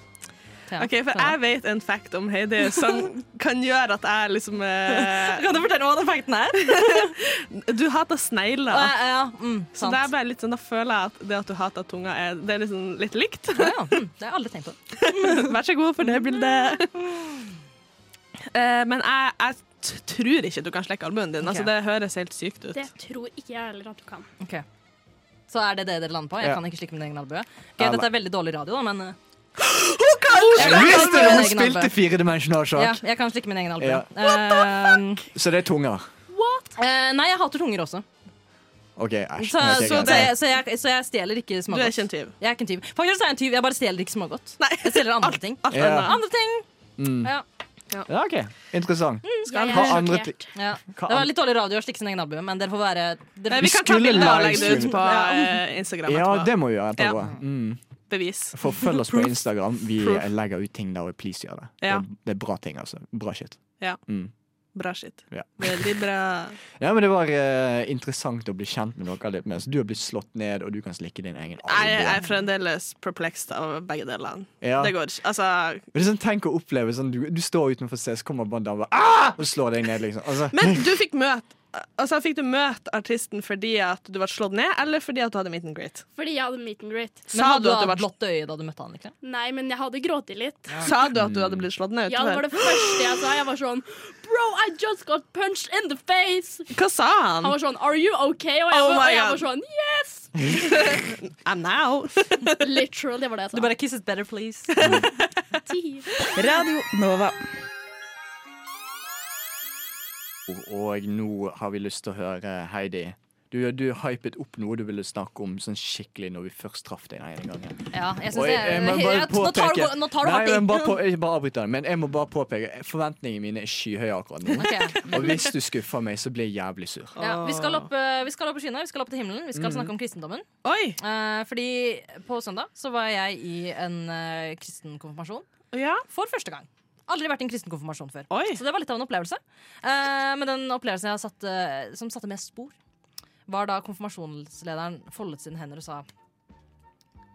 [SPEAKER 4] Thea,
[SPEAKER 5] (laughs) Ok, For
[SPEAKER 4] Thea.
[SPEAKER 5] jeg vet en fact om Heidi som kan gjøre at jeg liksom eh,
[SPEAKER 4] Kan du fortelle hva den fakten er?
[SPEAKER 5] Du hater
[SPEAKER 4] Ja,
[SPEAKER 5] snegler.
[SPEAKER 4] ja, ja, mm,
[SPEAKER 5] Så
[SPEAKER 4] sant.
[SPEAKER 5] det er bare litt sånn, Da føler jeg at det at du hater tunga, er, det er liksom litt likt.
[SPEAKER 4] (laughs) Ja, ja, mm, det har jeg aldri tenkt på.
[SPEAKER 5] Vær så god for det bildet. Eh, men jeg, jeg t tror ikke du kan slekke albuen din. Altså,
[SPEAKER 4] Ok.
[SPEAKER 5] det høres helt sykt ut.
[SPEAKER 6] Det tror ikke jeg heller at du kan.
[SPEAKER 4] Ok. Så er det det dere lander på? Jeg
[SPEAKER 3] Ja.
[SPEAKER 4] kan ikke slikke min egen albue. Ok,
[SPEAKER 3] Eller-
[SPEAKER 4] dette er veldig dårlig radio, da, men eh,
[SPEAKER 3] Jeg visste det! Hun
[SPEAKER 4] Egen albue.
[SPEAKER 3] spilte firedimensjonal
[SPEAKER 4] ja,
[SPEAKER 3] sjakk!
[SPEAKER 4] jeg kan slikke min egen albue.
[SPEAKER 3] Ja.
[SPEAKER 4] Eh,
[SPEAKER 3] Så det er tunga.
[SPEAKER 4] eh, nei, jeg hater tunger også.
[SPEAKER 3] OK, æsj.
[SPEAKER 4] Så,
[SPEAKER 3] Ok,
[SPEAKER 4] så,
[SPEAKER 3] greit.
[SPEAKER 4] det, så, jeg, så jeg stjeler ikke
[SPEAKER 5] Du er
[SPEAKER 4] smågodt.
[SPEAKER 5] ikke en tyv.
[SPEAKER 4] Jeg er ikke en tyv. Faktisk er jeg en tyv, jeg bare stjeler ikke smågodt.
[SPEAKER 5] Nei.
[SPEAKER 4] Jeg stjeler andre ting.
[SPEAKER 5] Alt
[SPEAKER 3] Ja.
[SPEAKER 5] annet.
[SPEAKER 4] Andre ting! Ja.
[SPEAKER 3] Ja, OK. Interessant.
[SPEAKER 6] Jeg
[SPEAKER 3] ha
[SPEAKER 6] er
[SPEAKER 3] andre
[SPEAKER 6] sjokkert.
[SPEAKER 4] Ja.
[SPEAKER 3] Hva
[SPEAKER 4] Det var
[SPEAKER 3] an-
[SPEAKER 4] litt dårlig radio å slikke sin egen albue, men dere får være dere,
[SPEAKER 5] Nei,
[SPEAKER 3] Vi
[SPEAKER 5] Eh, vi kan ta
[SPEAKER 3] skulle
[SPEAKER 5] bilder og legge det
[SPEAKER 3] livestreame.
[SPEAKER 5] ut på eh, Instagram
[SPEAKER 3] Ja,
[SPEAKER 5] etterpå.
[SPEAKER 3] det må vi gjøre. etterpå. Mm.
[SPEAKER 5] Bevis.
[SPEAKER 3] For følg oss på Instagram. Vi legger ut ting der, og please gjør det.
[SPEAKER 5] Ja.
[SPEAKER 3] Det er bra ting, altså. Bra shit.
[SPEAKER 5] Ja.
[SPEAKER 3] Mm.
[SPEAKER 5] Bra shit.
[SPEAKER 3] Ja.
[SPEAKER 5] Veldig bra.
[SPEAKER 3] Ja, men Det var eh, interessant å bli kjent med noe litt mer. Så du har blitt slått ned, og du kan slikke din egen
[SPEAKER 5] Jeg jeg er
[SPEAKER 3] albue.
[SPEAKER 5] fremdeles perplexed av begge delene.
[SPEAKER 3] Ja.
[SPEAKER 5] Det går ikke. Altså,
[SPEAKER 3] Men det er sånn, Tenk å oppleve sånn Du, du står utenfor C, så kommer bare en dame ah! og slår deg ned. liksom altså, (laughs)
[SPEAKER 5] Men du fikk møte Altså, Fikk du møte artisten fordi at du ble slått ned, eller fordi at du hadde meet and greet?
[SPEAKER 6] Fordi jeg hadde meet and great.
[SPEAKER 5] Sa
[SPEAKER 4] Men hadde
[SPEAKER 5] du
[SPEAKER 4] du
[SPEAKER 5] at det
[SPEAKER 4] hatt
[SPEAKER 5] var-
[SPEAKER 4] blått øye da du møtte han? ikke?
[SPEAKER 6] Nei, men jeg hadde grått litt.
[SPEAKER 5] Sa du
[SPEAKER 3] Mm.
[SPEAKER 5] at du hadde blitt slått ned?
[SPEAKER 6] Ja, det var det første jeg sa. Jeg var sånn Bro, I just got punched in the face!
[SPEAKER 5] Hva sa han?
[SPEAKER 6] Han var sånn Are you okay? Og jeg,
[SPEAKER 5] Oh
[SPEAKER 6] var, og
[SPEAKER 5] my
[SPEAKER 6] jeg
[SPEAKER 5] God.
[SPEAKER 6] var sånn Yes!
[SPEAKER 5] I'm now.
[SPEAKER 6] Literal, det var det jeg sa.
[SPEAKER 4] Du bare 'kiss it better, please'.
[SPEAKER 6] Ti.
[SPEAKER 9] Radio Nova.
[SPEAKER 3] Og nå har vi lyst til å høre Heidi. Du, du hypet opp noe du ville snakke om sånn skikkelig når vi først traff deg den ene gangen.
[SPEAKER 4] Ja, jeg
[SPEAKER 3] Og
[SPEAKER 4] synes
[SPEAKER 3] jeg-
[SPEAKER 4] det
[SPEAKER 3] jeg må
[SPEAKER 4] (laughs)
[SPEAKER 3] bare
[SPEAKER 4] jeg- Nå tar du,
[SPEAKER 3] påpeke-
[SPEAKER 4] nå tar du
[SPEAKER 3] Nei,
[SPEAKER 4] hardt i.
[SPEAKER 3] men bare, på, jeg bare avbryter deg, men jeg må bare påpeke forventningene mine er skyhøye akkurat
[SPEAKER 4] (laughs)
[SPEAKER 3] nå.
[SPEAKER 4] Ok.
[SPEAKER 3] Og hvis du skuffer meg, så blir jeg jævlig sur.
[SPEAKER 4] Ja, vi, skal opp, eh, vi skal opp i skyene, vi skal opp til himmelen, vi skal snakke om kristendommen.
[SPEAKER 5] Oi!
[SPEAKER 4] Eh, fordi på søndag så var jeg i en eh, kristen konfirmasjon
[SPEAKER 5] Ja.
[SPEAKER 4] for første gang. Aldri vært i en kristen konfirmasjon før.
[SPEAKER 5] Oi.
[SPEAKER 4] Så det var litt av en opplevelse. Eh, men den opplevelsen jeg har satt, eh, som satte mest spor, var da konfirmasjonslederen foldet sine hender og sa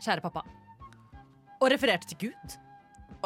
[SPEAKER 4] Kjære pappa. Og refererte til Gud.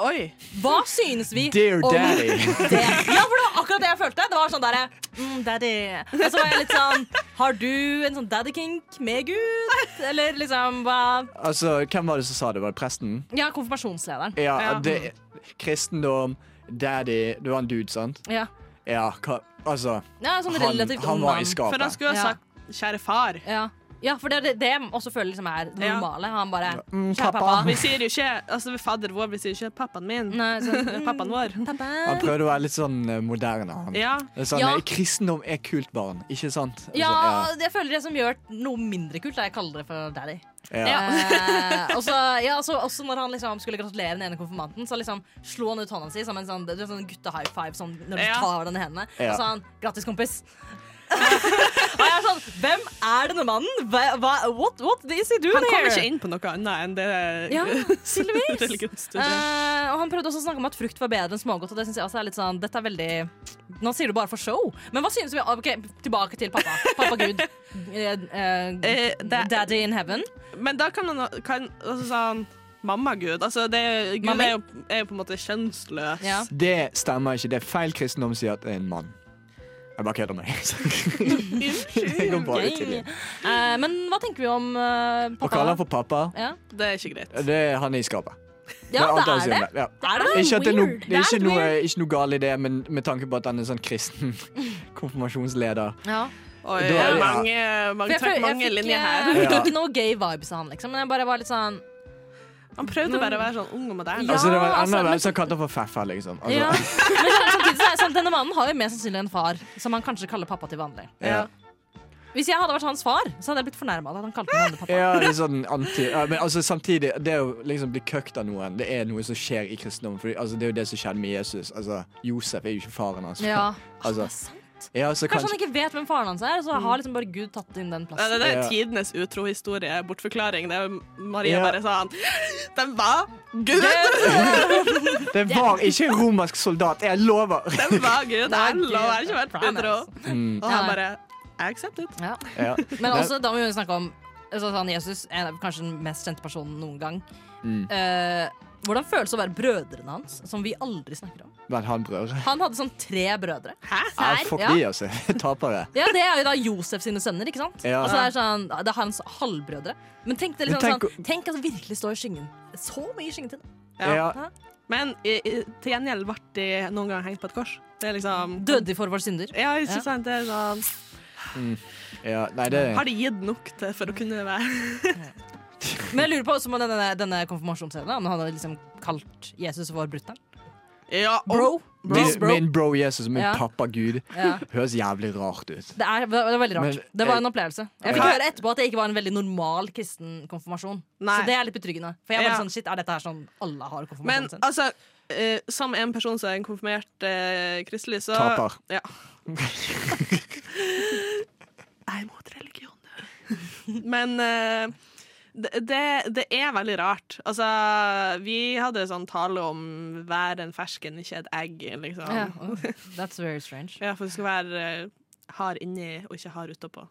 [SPEAKER 5] Oi.
[SPEAKER 4] Hva synes vi
[SPEAKER 3] Dear
[SPEAKER 4] om
[SPEAKER 3] daddy.
[SPEAKER 4] det? Ja, for det var akkurat det jeg følte. Det var sånn derre mm, Daddy. Og så var jeg litt sånn Har du en sånn daddy-kink med Gud? Eller liksom hva
[SPEAKER 3] Altså, Hvem var det som sa det? Var det presten?
[SPEAKER 4] Ja, konfirmasjonslederen.
[SPEAKER 3] Ja,
[SPEAKER 5] Ja.
[SPEAKER 3] Det, kristendom, daddy Det var en dude, sant?
[SPEAKER 4] Ja.
[SPEAKER 3] Ja, hva Altså,
[SPEAKER 4] ja sånn
[SPEAKER 3] han,
[SPEAKER 4] relativt
[SPEAKER 3] han
[SPEAKER 4] ung
[SPEAKER 3] var i
[SPEAKER 4] mann.
[SPEAKER 3] skapet.
[SPEAKER 5] For han skulle ha
[SPEAKER 4] Ja.
[SPEAKER 5] sagt 'kjære far'.
[SPEAKER 4] Ja. ja, for det er det, det jeg også føler liksom er det
[SPEAKER 5] Ja.
[SPEAKER 4] normale. Han bare
[SPEAKER 3] Mm,
[SPEAKER 4] Kjære
[SPEAKER 3] pappa.
[SPEAKER 4] pappa.
[SPEAKER 5] Vi sier jo ikke altså fadder vår, vi sier ikke 'pappaen min'. (laughs)
[SPEAKER 4] Nei, sånn,
[SPEAKER 5] Det er Pappaen vår.
[SPEAKER 4] pappa.
[SPEAKER 3] Han prøvde å være litt sånn eh, moderne. han
[SPEAKER 5] Ja.
[SPEAKER 3] det er sånn,
[SPEAKER 4] Ja.
[SPEAKER 3] eh, Kristendom er kult, barn. Ikke sant? Altså,
[SPEAKER 4] Ja, jeg føler det som gjør noe mindre kult, er jeg kaller det for daddy.
[SPEAKER 3] ja, ja.
[SPEAKER 4] Eh, og så- ja, altså, også når han liksom skulle gratulere den ene konfirmanten, så liksom slo han ut hånda si som en sånn, det er sånn gutte-high five sånn, når du
[SPEAKER 5] Ja.
[SPEAKER 4] tar den i hendene.
[SPEAKER 3] Ja.
[SPEAKER 4] Og så sa han 'grattis, kompis'. (laughs) og jeg er sånn Hvem er denne mannen? Hva, hva, what, what is he doing
[SPEAKER 5] Han kom
[SPEAKER 4] here?
[SPEAKER 5] ikke inn på noe annet enn det
[SPEAKER 4] Ja, tydeligvis.
[SPEAKER 5] religionsstudiet.
[SPEAKER 4] Eh, og han prøvde også å snakke om at frukt var bedre enn smågodt. Og det synes jeg også er litt sånn, dette er veldig Nå sier du bare for show. Men hva synes vi Ok, tilbake til pappa. Pappa
[SPEAKER 5] (laughs)
[SPEAKER 4] Gud. Eh, eh,
[SPEAKER 5] (laughs) Eh, det-
[SPEAKER 4] daddy in heaven.
[SPEAKER 5] Men da kan han kan, altså, sånn, Mamma Gud. Altså, det, Gud
[SPEAKER 4] Mamma?
[SPEAKER 5] er jo, er jo på en måte kjønnsløs. (laughs)
[SPEAKER 4] Ja.
[SPEAKER 3] Det stemmer ikke. Det er feil kristendom sier at det er en mann. Jeg bare kødder med
[SPEAKER 5] (laughs)
[SPEAKER 3] deg. Jeg går bare ut i det.
[SPEAKER 4] Eh, men hva tenker vi om eh,
[SPEAKER 3] Å
[SPEAKER 4] pappa?
[SPEAKER 3] kalle han for pappa,
[SPEAKER 4] Ja,
[SPEAKER 5] Det er ikke greit.
[SPEAKER 3] Eh, det er han er i skapet.
[SPEAKER 4] ja
[SPEAKER 3] alt
[SPEAKER 4] det
[SPEAKER 3] han sier
[SPEAKER 4] er det.
[SPEAKER 3] om Ja.
[SPEAKER 4] Er det?
[SPEAKER 3] Ikke at det er noe,
[SPEAKER 4] Weird.
[SPEAKER 3] det er ikke
[SPEAKER 4] litt
[SPEAKER 3] noe,
[SPEAKER 4] weird.
[SPEAKER 3] ikke noe galt i det, men med tanke på at han er sånn kristen (laughs) konfirmasjonsleder.
[SPEAKER 4] Ja.
[SPEAKER 5] Oi,
[SPEAKER 3] Da er det-
[SPEAKER 5] mange,
[SPEAKER 4] For
[SPEAKER 5] mange,
[SPEAKER 4] jeg,
[SPEAKER 5] trakk
[SPEAKER 4] føl- jeg,
[SPEAKER 5] mange
[SPEAKER 4] fikk,
[SPEAKER 5] linjer
[SPEAKER 4] eh,
[SPEAKER 5] her.
[SPEAKER 4] jeg fikk
[SPEAKER 3] Ja.
[SPEAKER 4] ikke noe gay vibes av han, liksom. Men jeg bare var litt sånn
[SPEAKER 5] Han prøvde bare å være sånn ung og moderne.
[SPEAKER 4] Ja,
[SPEAKER 3] altså, det var
[SPEAKER 4] altså,
[SPEAKER 3] enda
[SPEAKER 4] men-
[SPEAKER 3] verre som kalte han for Feffa, liksom. Altså,
[SPEAKER 4] ja. (laughs) Men så er det samtidig så er det sånn, denne mannen har jo mest sannsynlig en far som han kanskje kaller pappa til vanlig.
[SPEAKER 3] ja.
[SPEAKER 4] Hvis jeg hadde vært hans far, så hadde jeg blitt fornærma av at han kalte meg andre pappa.
[SPEAKER 3] Ja, det er sånn anti... Ja, men altså, samtidig, det å liksom bli køkt av noen, det er noe som skjer i kristendommen. Fordi, altså, det er jo det som skjedde med Jesus. Altså, Josef er jo ikke faren hans.
[SPEAKER 4] Ja.
[SPEAKER 3] (laughs)
[SPEAKER 4] Det
[SPEAKER 3] Altså,
[SPEAKER 4] er sant.
[SPEAKER 3] ja, så
[SPEAKER 4] Kanskje
[SPEAKER 3] kanskje...
[SPEAKER 4] han ikke vet hvem faren hans er, så har liksom bare Gud tatt inn den
[SPEAKER 5] Ja, det,
[SPEAKER 4] plassen.
[SPEAKER 5] det er
[SPEAKER 3] Ja.
[SPEAKER 5] tidenes utrohistorie, bortforklaring. Det er Maria
[SPEAKER 3] Ja.
[SPEAKER 5] bare sånn Den var Gud!
[SPEAKER 3] Det var ikke en romersk soldat, jeg lover!
[SPEAKER 5] Den var Gud!
[SPEAKER 4] Nei,
[SPEAKER 5] Jeg
[SPEAKER 4] Gud,
[SPEAKER 5] lover, jeg har ikke vært
[SPEAKER 4] promise.
[SPEAKER 5] utro.
[SPEAKER 3] Mm.
[SPEAKER 5] Og
[SPEAKER 4] Ja.
[SPEAKER 5] han bare I accept it.
[SPEAKER 4] Ja.
[SPEAKER 3] Ja.
[SPEAKER 4] (laughs) Men også, da må vi jo snakke om altså, sånn, Jesus er kanskje den mest kjente personen noen gang. Eh, hvordan føles det å være brødrene hans, som vi aldri snakker om?
[SPEAKER 3] Men han brør.
[SPEAKER 4] Han hadde sånn tre brødre.
[SPEAKER 3] Ja, fuck
[SPEAKER 4] Ja.
[SPEAKER 3] de, altså. (laughs) Tapere.
[SPEAKER 4] Ja, Det er jo da Josef sine sønner. ikke sant?
[SPEAKER 3] Ja.
[SPEAKER 4] Altså, det, er sånn, det er hans halvbrødre. Men tenk det
[SPEAKER 3] Men
[SPEAKER 4] liksom
[SPEAKER 3] tenk
[SPEAKER 4] sånn, tenk at det virkelig står i skyggen. Så mye i skyggen til.
[SPEAKER 5] Ja.
[SPEAKER 3] Ja.
[SPEAKER 5] Men i, i, til gjengjeld ble de noen gang hengt på et kors. Det er liksom
[SPEAKER 4] Døde for våre synder.
[SPEAKER 5] Ja, ikke
[SPEAKER 4] Ja.
[SPEAKER 5] sant? Det er sånn
[SPEAKER 3] ja. Nei, det
[SPEAKER 5] Har de gitt nok til for å kunne være
[SPEAKER 4] Men jeg lurer på også om denne, denne konfirmasjonsscenen om han hadde liksom kalt Jesus vår brutter'n.
[SPEAKER 5] Ja, og-
[SPEAKER 4] Bro.
[SPEAKER 3] min, min bro Jesus, min
[SPEAKER 4] Ja.
[SPEAKER 3] pappa Gud,
[SPEAKER 4] Ja.
[SPEAKER 3] høres jævlig rart ut.
[SPEAKER 4] Det er, det er veldig rart.
[SPEAKER 3] Men-
[SPEAKER 4] det var en opplevelse. Jeg fikk
[SPEAKER 5] Ja.
[SPEAKER 4] høre etterpå at det ikke var en veldig normal kristen konfirmasjon.
[SPEAKER 5] Nei.
[SPEAKER 4] Så det er litt betryggende. For jeg var
[SPEAKER 5] Ja.
[SPEAKER 4] sånn, shit, er dette her sånn alle har
[SPEAKER 5] Men
[SPEAKER 4] konfirmasjonen sin?
[SPEAKER 5] altså eh, som en person som er en konfirmert eh, kristelig, så
[SPEAKER 3] Taper.
[SPEAKER 5] Ja. Jeg er imot religion. Men eh, Det, det, det er veldig rart. Altså, vi hadde sånn tale om 'vær en fersken, ikke et egg', liksom.
[SPEAKER 4] Ja.
[SPEAKER 5] Ja,
[SPEAKER 4] oh, That's very strange.
[SPEAKER 5] for du skal være eh, hard inni og ikke hard utapå.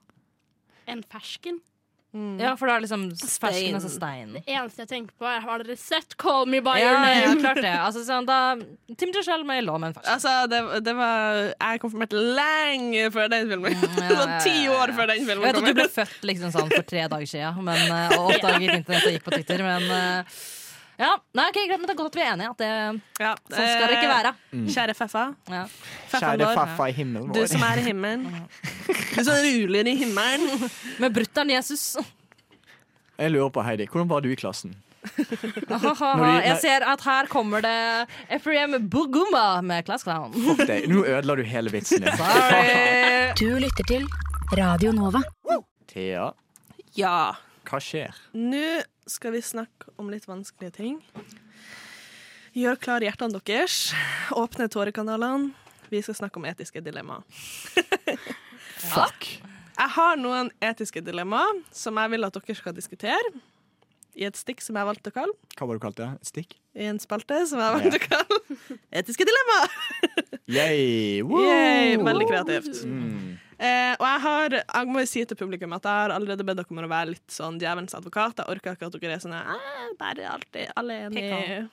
[SPEAKER 6] En fersken.
[SPEAKER 4] Ja, for da er liksom
[SPEAKER 5] Stein.
[SPEAKER 4] fersken og så stein.
[SPEAKER 6] Eneste jeg tenker på, er har dere sett Call Me By
[SPEAKER 4] Ja,
[SPEAKER 6] Your
[SPEAKER 4] ja,
[SPEAKER 6] Name?
[SPEAKER 4] klart det. Altså, sånn, da, Tim Joshell med lov med en fersk.
[SPEAKER 5] Altså, det, det var Jeg konfirmerte lenge før den filmen.
[SPEAKER 4] Mm, ja, ja,
[SPEAKER 5] (laughs) sånn ti
[SPEAKER 4] ja, ja.
[SPEAKER 5] år før den
[SPEAKER 4] Jeg
[SPEAKER 5] filmen
[SPEAKER 4] vet at
[SPEAKER 5] kom
[SPEAKER 4] du ble
[SPEAKER 5] ut.
[SPEAKER 4] født liksom sånn for tre dager siden men, eh, og oppdaget internett og gikk på Twitter, men eh, ja, Nei, ok, greit, men det er godt at vi er enige. At det,
[SPEAKER 5] Ja. Eh,
[SPEAKER 4] sånn skal det ikke være.
[SPEAKER 5] Kjære Feffa.
[SPEAKER 4] Ja.
[SPEAKER 5] Feffaen
[SPEAKER 3] Mm. Kjære
[SPEAKER 5] vår.
[SPEAKER 3] faffa i himmelen
[SPEAKER 5] Du
[SPEAKER 3] vår.
[SPEAKER 5] som er i himmelen. Du som ruler i himmelen.
[SPEAKER 4] Med brutter'n
[SPEAKER 5] (laughs)
[SPEAKER 4] Jesus.
[SPEAKER 3] Jeg lurer på, Heidi, hvordan var du i klassen? de-
[SPEAKER 4] Jeg ser at her kommer det Efrem Bugumba med Class Clown.
[SPEAKER 3] Fuck deg. Nå ødela du hele vitsen din.
[SPEAKER 4] Sorry.
[SPEAKER 9] Du lytter til Radio Nova.
[SPEAKER 3] Thea,
[SPEAKER 5] Ja.
[SPEAKER 3] hva skjer?
[SPEAKER 5] Nå skal vi snakke om litt vanskelige ting. Gjør klar hjertene deres. Åpne tårekanalene. Vi skal snakke om etiske dilemmaer.
[SPEAKER 3] Fuck!
[SPEAKER 5] Jeg har noen etiske dilemmaer som jeg vil at dere skal diskutere. I et stikk som jeg valgte å kalle.
[SPEAKER 3] Hva var det du kalte det? Et stikk?
[SPEAKER 5] I en spalte som jeg valgte å kalle Etiske dilemmaer!
[SPEAKER 3] Yay! Woo!
[SPEAKER 5] Yay, veldig kreativt.
[SPEAKER 3] Mm.
[SPEAKER 5] Eh, og jeg har, jeg må jo si til publikum at jeg har allerede bedt dere om å være litt sånn djevelens advokat. Jeg orker ikke at dere er sånn eh, bare alltid, alle er enige.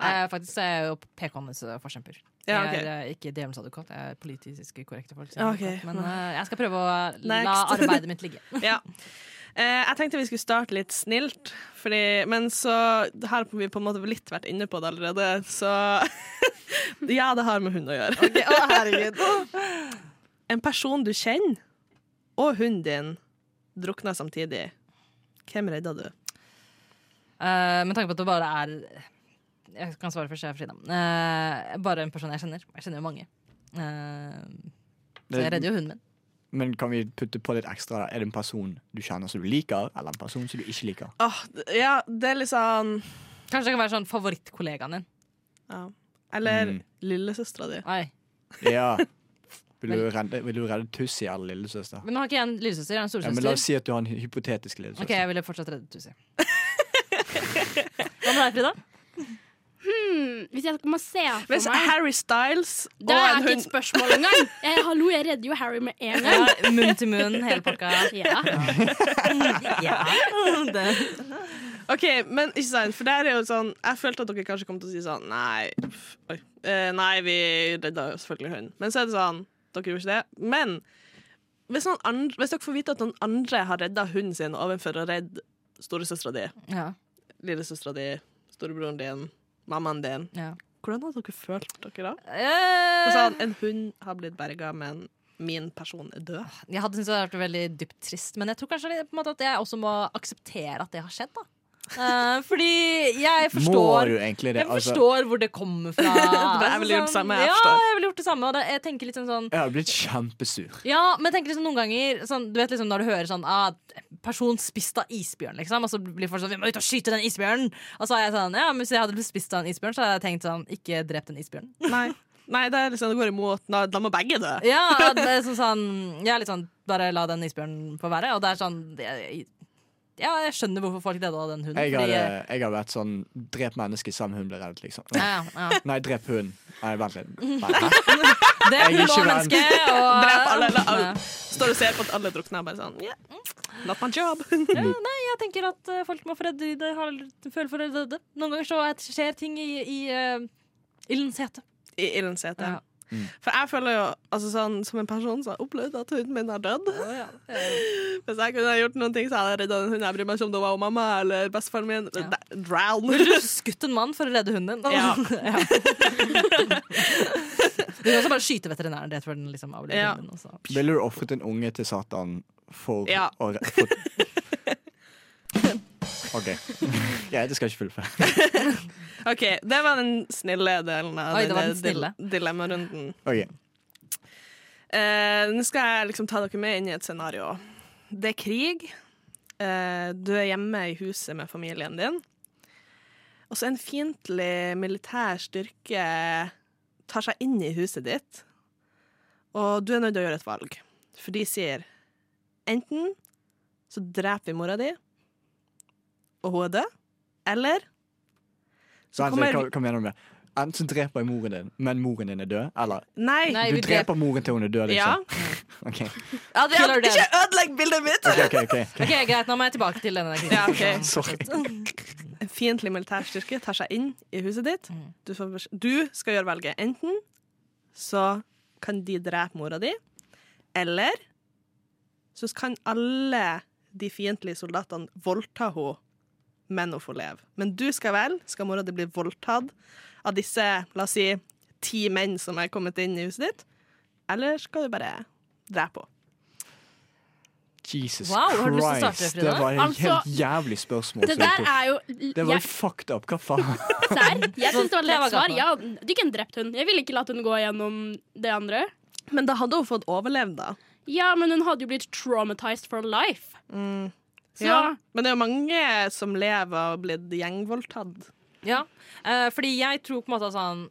[SPEAKER 4] Eh, faktisk er (laughs) jeg jo PK-enes forkjemper. Jeg
[SPEAKER 5] Ja, ok.
[SPEAKER 4] er eh, ikke djevelens advokat, jeg er politisk korrekte folk. sin
[SPEAKER 5] Ok.
[SPEAKER 4] advokat, Men eh, jeg skal prøve å la
[SPEAKER 5] Next.
[SPEAKER 4] arbeidet mitt ligge.
[SPEAKER 5] (laughs) Ja. Eh, jeg tenkte vi skulle starte litt snilt, fordi, men så Her har vi på en måte litt vært inne på det allerede, så (laughs) Ja, det har med hund å gjøre. (laughs) En person du kjenner, og hunden din, drukner samtidig. Hvem redder du?
[SPEAKER 4] Eh, med tanke på at det bare er Jeg kan svare først, jeg er Frida. Eh, bare en person jeg kjenner. Jeg kjenner jo mange. Eh, så jeg redder jo hunden min.
[SPEAKER 3] Men kan vi putte på litt ekstra? Er det en person du kjenner som du liker, eller en person som du ikke liker?
[SPEAKER 5] Åh, Ah, d- ja, det er litt sånn
[SPEAKER 4] Kanskje det kan være sånn favorittkollegaen din.
[SPEAKER 5] ja. Eller
[SPEAKER 3] Mm.
[SPEAKER 5] lillesøstera di.
[SPEAKER 4] Oi.
[SPEAKER 3] Ja. Vil du redde, vil du redde Tussi eller lillesøster?
[SPEAKER 4] Men nå har ikke jeg en lillesøster, jeg har en
[SPEAKER 3] Ja, men la
[SPEAKER 4] storesøster.
[SPEAKER 3] oss si at du har en hypotetisk lillesøster.
[SPEAKER 4] ok, jeg ville fortsatt reddet
[SPEAKER 3] (laughs)
[SPEAKER 4] Tussi. Hva med deg, Frida?
[SPEAKER 6] Hmm, hvis jeg må se for
[SPEAKER 5] Hvis
[SPEAKER 6] meg
[SPEAKER 5] Harry Styles og
[SPEAKER 6] Det er
[SPEAKER 5] en
[SPEAKER 6] ikke et
[SPEAKER 5] hund
[SPEAKER 6] spørsmål engang. Jeg, hallo, jeg redder jo Harry med en
[SPEAKER 4] (laughs)
[SPEAKER 6] gang.
[SPEAKER 4] Ja, munn til munn, hele pakka.
[SPEAKER 6] Ja.
[SPEAKER 4] (laughs) Ja. Det.
[SPEAKER 5] OK, men ikke sant, for der er jo sånn Jeg følte at dere kanskje kom til å si sånn Nei, pff, oi. Eh, nei vi redda jo selvfølgelig hunden. Men så er det sånn Dere gjorde ikke det. Men hvis, noen andre, hvis dere får vite at noen andre har redda hunden sin overfor å redde storesøstera di,
[SPEAKER 4] Ja,
[SPEAKER 5] lillesøstera di, storebroren din, mammaen din
[SPEAKER 4] ja.
[SPEAKER 5] Hvordan har dere følt dere da? Og
[SPEAKER 4] Eh,
[SPEAKER 5] sånn, en hund har blitt berga, men min person er
[SPEAKER 4] (laughs)
[SPEAKER 5] død.
[SPEAKER 4] jeg hadde syntes det hadde vært veldig dypt trist, men jeg tror kanskje litt på en måte at jeg også må akseptere at det har skjedd. da Eh, Fordi jeg
[SPEAKER 3] Må
[SPEAKER 4] forstår
[SPEAKER 3] du egentlig det?
[SPEAKER 4] Jeg
[SPEAKER 3] Altså,
[SPEAKER 4] forstår hvor det kommer
[SPEAKER 5] (laughs)
[SPEAKER 4] fra. Altså, sånn-
[SPEAKER 5] er vel gjort det samme, jeg
[SPEAKER 4] ja,
[SPEAKER 5] forstår.
[SPEAKER 4] jeg ville gjort det samme. Og det, jeg tenker litt sånn, sånn
[SPEAKER 3] altså. jeg har blitt kjempesur.
[SPEAKER 4] Ja, men jeg tenker liksom noen ganger sånn, Du vet liksom når du hører sånn ah, Person spist av isbjørn liksom Og så blir folk sånn, vi må ut og skyte den isbjørnen Og så er jeg sånn, ja, men hvis jeg hadde blitt spist av en isbjørn Så hadde jeg tenkt sånn, ikke drep den
[SPEAKER 5] (laughs)
[SPEAKER 4] isbjørnen
[SPEAKER 5] Nei. Nei, det, er liksom, det går imot Da, da må begge dø.
[SPEAKER 4] Ja, det er sånn, sånn Jeg er litt sånn, bare la den isbjørnen få være Og det er sånn jeg, Ja, jeg skjønner hvorfor folk døde av den hunden
[SPEAKER 3] Jeg,
[SPEAKER 4] fordi- eh,
[SPEAKER 3] hadde,
[SPEAKER 5] eh,
[SPEAKER 3] jeg har vært sånn Drep mennesket, samme hund ble reddet, liksom.
[SPEAKER 4] ja, ja, ja.
[SPEAKER 3] Nei, drep hunden. Nei,
[SPEAKER 4] (laughs)
[SPEAKER 3] vent litt. Nei, hæ?
[SPEAKER 4] Drep
[SPEAKER 3] Jeg er
[SPEAKER 4] hund og
[SPEAKER 3] ikke venn.
[SPEAKER 4] menneske og,
[SPEAKER 5] Drep alle, eller
[SPEAKER 4] Ja.
[SPEAKER 5] alle. Står og ser på at alle drukner. Bare sånn yeah. Not my job. (laughs)
[SPEAKER 4] Ja, nei, jeg tenker at eh, folk må foredde det, har, føle for det døde. Noen ganger så er- skjer ting i, i eh, ildens
[SPEAKER 5] (laughs)
[SPEAKER 4] hete.
[SPEAKER 5] I ildens hete.
[SPEAKER 4] Ja.
[SPEAKER 5] For jeg føler jo altså sånn, som en person som har opplevd at hunden min har dødd (laughs) Hvis jeg kunne ha gjort noen ting, så hadde jeg redda den hunden. Jeg bryr meg ikke om det var mamma eller bestefaren min.
[SPEAKER 4] Ja.
[SPEAKER 5] Da- Drown. (laughs)
[SPEAKER 4] Ville du skutt en mann for å redde hunden din? (laughs)
[SPEAKER 5] Ja.
[SPEAKER 4] Ja. Du kan også bare skyte veterinæren rett før den liksom avlever
[SPEAKER 5] Ja.
[SPEAKER 4] hunden. Også.
[SPEAKER 3] Ville du ofret en unge til Satan for
[SPEAKER 5] Ja.
[SPEAKER 3] å re- for... OK. (laughs) Greit, jeg skal ikke fullføre.
[SPEAKER 5] OK, det var den snille delen av
[SPEAKER 4] Oi, det var
[SPEAKER 5] denne
[SPEAKER 4] den snille.
[SPEAKER 5] dil- dilemmarunden.
[SPEAKER 3] Ok.
[SPEAKER 5] Eh, nå skal jeg liksom ta dere med inn i et scenario. Det er krig. Eh, du er hjemme i huset med familien din. Og så en fiendtlig militær styrke tar seg inn i huset ditt. Og du er nødt til å gjøre et valg. For de sier enten så dreper vi mora di, og hun er død, eller
[SPEAKER 3] Så altså,
[SPEAKER 5] kommer-
[SPEAKER 3] kom, kom gjennom det. Enten dreper jeg moren din, men moren din er død, eller
[SPEAKER 5] Nei.
[SPEAKER 4] Nei,
[SPEAKER 3] du
[SPEAKER 4] vi dreper
[SPEAKER 3] dreper moren til hun er død,
[SPEAKER 5] Ja.
[SPEAKER 3] liksom. (laughs) Ok,
[SPEAKER 4] Ja, det,
[SPEAKER 5] Killer
[SPEAKER 4] ja,
[SPEAKER 5] Ikke
[SPEAKER 4] ikke.
[SPEAKER 5] ødelegg bildet mitt!
[SPEAKER 3] ok, ok, ok, ok.
[SPEAKER 4] Ok, Greit, nå må jeg tilbake til denne.
[SPEAKER 5] Ja, ok.
[SPEAKER 3] Sorry.
[SPEAKER 5] En fiendtlig militærstyrke tar seg inn i huset ditt. Du, får, besk- du skal gjøre valget. Enten så kan de drepe mora di, eller så kan alle de fiendtlige soldatene voldta henne, men hun får leve. Men du skal vel, skal mora di bli voldtatt av disse, la oss si, ti menn som er kommet inn i huset ditt, eller skal du bare drepe henne?
[SPEAKER 3] Jesus
[SPEAKER 4] Wow, har du lyst til å starte,
[SPEAKER 3] Christ.
[SPEAKER 4] Frida?
[SPEAKER 3] Det var et
[SPEAKER 6] Altså,
[SPEAKER 3] helt jævlig spørsmål.
[SPEAKER 6] Det
[SPEAKER 3] som jeg
[SPEAKER 6] der
[SPEAKER 3] tok.
[SPEAKER 6] er jo
[SPEAKER 3] det var
[SPEAKER 6] jeg,
[SPEAKER 3] jo fucked up. Hva faen? (laughs)
[SPEAKER 6] Serr? (laughs) Jeg syns det var et
[SPEAKER 4] Det var
[SPEAKER 6] lett svar.
[SPEAKER 4] godt.
[SPEAKER 6] Ja, du kunne drept hun. Jeg ville ikke latt hun gå gjennom det andre.
[SPEAKER 5] Men da hadde hun fått overlevd, da.
[SPEAKER 6] Ja, men hun hadde jo blitt traumatized for life. Så
[SPEAKER 5] Ja, men det er jo mange som lever og har blitt gjengvoldtatt.
[SPEAKER 4] Ja, eh, fordi jeg tror på en måte at sånn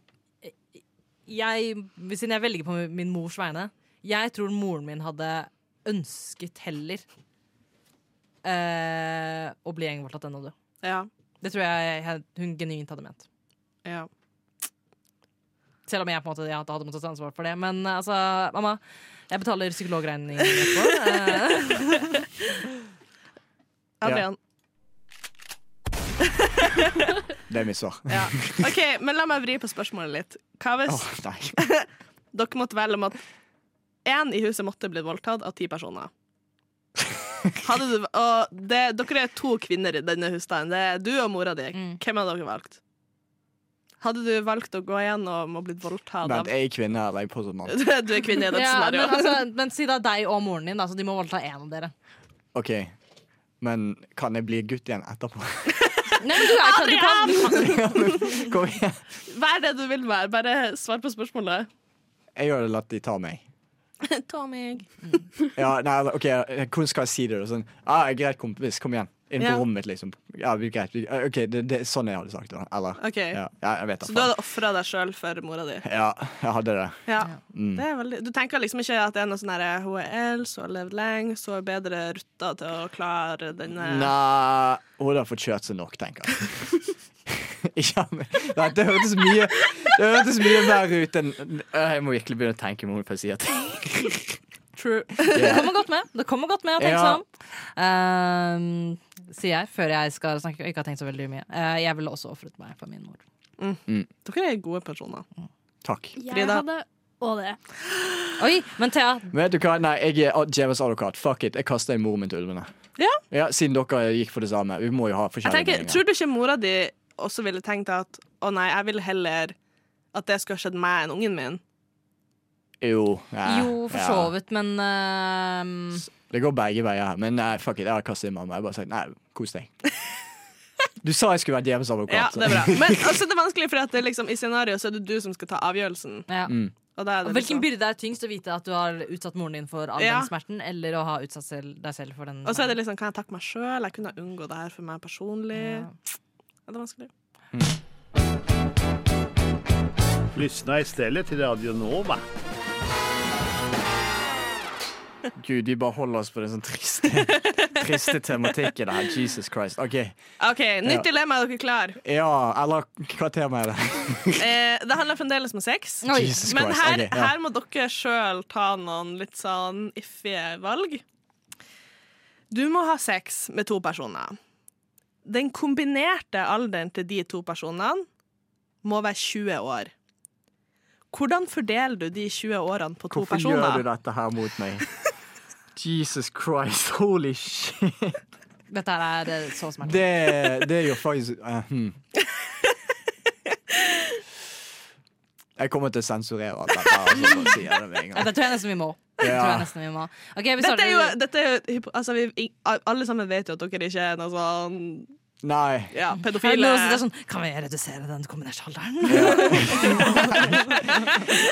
[SPEAKER 4] jeg, Siden jeg velger på min mors vegne Jeg tror moren min hadde ønsket heller eh, å bli gjengvoldtatt enn å dø.
[SPEAKER 5] Ja,
[SPEAKER 4] Det tror jeg jeg- hun genuint hadde ment.
[SPEAKER 5] ja.
[SPEAKER 4] Selv om jeg på en måte ja, hadde måttet ta ansvar for det. Men eh, altså, mamma, jeg betaler psykologregning (laughs) etterpå. Eh,
[SPEAKER 5] Adrian.
[SPEAKER 3] Det er mitt svar. Åh,
[SPEAKER 5] Ja. OK, men la meg vri på spørsmålet litt. Hva
[SPEAKER 3] (laughs)
[SPEAKER 5] hvis
[SPEAKER 3] nei.
[SPEAKER 5] dere måtte velge om at én i huset måtte bli voldtatt av
[SPEAKER 3] (laughs)
[SPEAKER 5] ti personer? Hadde du, og det, dere er to kvinner i denne husstanden. Det er du og mora di.
[SPEAKER 4] Mm.
[SPEAKER 5] Hvem hadde dere valgt? Hadde du valgt å gå gjennom og blitt voldtatt
[SPEAKER 3] Vent,
[SPEAKER 5] av
[SPEAKER 3] er jeg kvinne eller er sånn jeg påstått mann?
[SPEAKER 5] (laughs) Du er kvinne i dette
[SPEAKER 4] ja, men,
[SPEAKER 5] scenarioet.
[SPEAKER 4] altså, men si da deg og moren din, da, så de må voldta én av dere.
[SPEAKER 3] OK, men kan jeg bli gutt igjen etterpå? (laughs)
[SPEAKER 4] Nei, men du er, kan, du kan, du kan,
[SPEAKER 3] Kom igjen.
[SPEAKER 4] altså-
[SPEAKER 5] Vær det du vil være. Bare svar på spørsmålet.
[SPEAKER 3] Jeg hadde latt de ta meg.
[SPEAKER 5] Ta meg.
[SPEAKER 3] Ja, nei, altså, ok, Hvordan skal jeg si det? da? Sånn, ah, greit, kompis, kom igjen. Inn på
[SPEAKER 5] Ja.
[SPEAKER 3] rommet mitt, liksom. Ja, vi- greit. vi- Ok, det, det er sånn jeg hadde sagt det. Eller
[SPEAKER 5] Ok.
[SPEAKER 3] ja, ja, jeg vet da
[SPEAKER 5] Så du
[SPEAKER 3] faen.
[SPEAKER 5] hadde ofra deg sjøl for mora di?
[SPEAKER 3] Ja, jeg hadde det.
[SPEAKER 5] Ja.
[SPEAKER 3] Mm.
[SPEAKER 5] Det er veldig, du tenker liksom ikke at det er noe sånn her Hun er eldst, hun har levd lenge, så er bedre rutta til å klare denne
[SPEAKER 3] Nei, hun har fått kjørt seg nok, tenker jeg.
[SPEAKER 5] (laughs)
[SPEAKER 3] ja, men, nei, det hørtes mye Det hørtes mye verre ut enn Jeg må virkelig begynne å tenke meg om før jeg sier ting.
[SPEAKER 5] True. (laughs)
[SPEAKER 4] Det kommer godt med. Det kommer godt med å tenke
[SPEAKER 3] Ja.
[SPEAKER 4] sånn. Ehm, sier jeg før jeg skal snakke. Ikke har tenkt så veldig mye. Eh, jeg ville også ofret meg for min mor.
[SPEAKER 5] Dere er gode personer.
[SPEAKER 3] Takk.
[SPEAKER 6] jeg
[SPEAKER 5] Frida.
[SPEAKER 6] hadde Og det.
[SPEAKER 4] Oi, men Thea,
[SPEAKER 3] Men vet du hva? Nei, jeg er djevelens advokat. Fuck it. Jeg kaster en mor min til ulvene.
[SPEAKER 5] Ja.
[SPEAKER 3] Siden dere gikk for det samme. Vi må jo ha
[SPEAKER 5] Jeg
[SPEAKER 3] forskjellige
[SPEAKER 5] tenker,
[SPEAKER 3] meninger.
[SPEAKER 5] Tror du ikke mora di også ville tenkt at å nei, jeg vil heller at det skulle ha skjedd meg enn ungen min?
[SPEAKER 3] Jo, ja,
[SPEAKER 4] jo, for så vidt, men ehm,
[SPEAKER 3] Det går begge veier her. Men nei, fuck it. Jeg har kastet en mamma. Jeg har bare sagt nei, kos deg. Du sa jeg skulle være djevelens advokat.
[SPEAKER 5] Ja,
[SPEAKER 3] så-
[SPEAKER 5] det er bra. Men også det er vanskelig, for at det er liksom, i scenarioet så er det du som skal ta avgjørelsen.
[SPEAKER 4] ja.
[SPEAKER 3] Mm.
[SPEAKER 5] Og da er det
[SPEAKER 4] Hvilken
[SPEAKER 5] liksom.
[SPEAKER 4] byrde er tyngst? Å vite at du har utsatt moren din for all
[SPEAKER 5] Ja.
[SPEAKER 4] den smerten, eller å ha utsatt selv, deg selv for den
[SPEAKER 5] Og så er det liksom Kan jeg takke meg sjøl? Jeg kunne ha unngått det her for meg personlig.
[SPEAKER 4] Ja.
[SPEAKER 5] Ja, det er vanskelig.
[SPEAKER 10] Lyssna istället till Radio Nova.
[SPEAKER 3] Gud, vi bare holder oss på den sånn
[SPEAKER 5] (laughs)
[SPEAKER 3] triste, triste tematikken her. Jesus Christ. OK.
[SPEAKER 5] OK, nytt
[SPEAKER 3] Ja.
[SPEAKER 5] dilemma. Er dere klare?
[SPEAKER 3] Ja, eller hva tema er det?
[SPEAKER 5] Eh, det handler fremdeles om sex.
[SPEAKER 4] Oi.
[SPEAKER 3] Jesus
[SPEAKER 5] Men
[SPEAKER 3] Christ.
[SPEAKER 5] her,
[SPEAKER 3] ok, ja.
[SPEAKER 5] her må dere sjøl ta noen litt sånn iffige valg. Du må ha sex med to personer. Den kombinerte alderen til de to personene må være 20 år. Hvordan fordeler du de 20 årene på to
[SPEAKER 3] Hvorfor
[SPEAKER 5] personer?
[SPEAKER 3] gjør du dette her mot meg? Jesus Christ, holy shit.
[SPEAKER 4] Dette her er eh, så smertefullt.
[SPEAKER 3] Det, det er jo faktisk eh, hmm. Jeg kommer til å sensurere alt dette. her, Altså, for å si det med en
[SPEAKER 4] Ja, (laughs)
[SPEAKER 3] gang.
[SPEAKER 4] det tror jeg nesten vi må. Det
[SPEAKER 3] Ja.
[SPEAKER 4] tror jeg nesten vi må. Ok, vi
[SPEAKER 5] Dette
[SPEAKER 4] starter
[SPEAKER 5] er jo, dette er jo hypo- altså vi, i- Alle sammen vet jo at dere ikke er noe sånn
[SPEAKER 3] Nei.
[SPEAKER 5] ja,
[SPEAKER 4] Er det
[SPEAKER 5] pedofile.
[SPEAKER 4] noen som er sånn, Kan vi redusere den kombinerte alderen?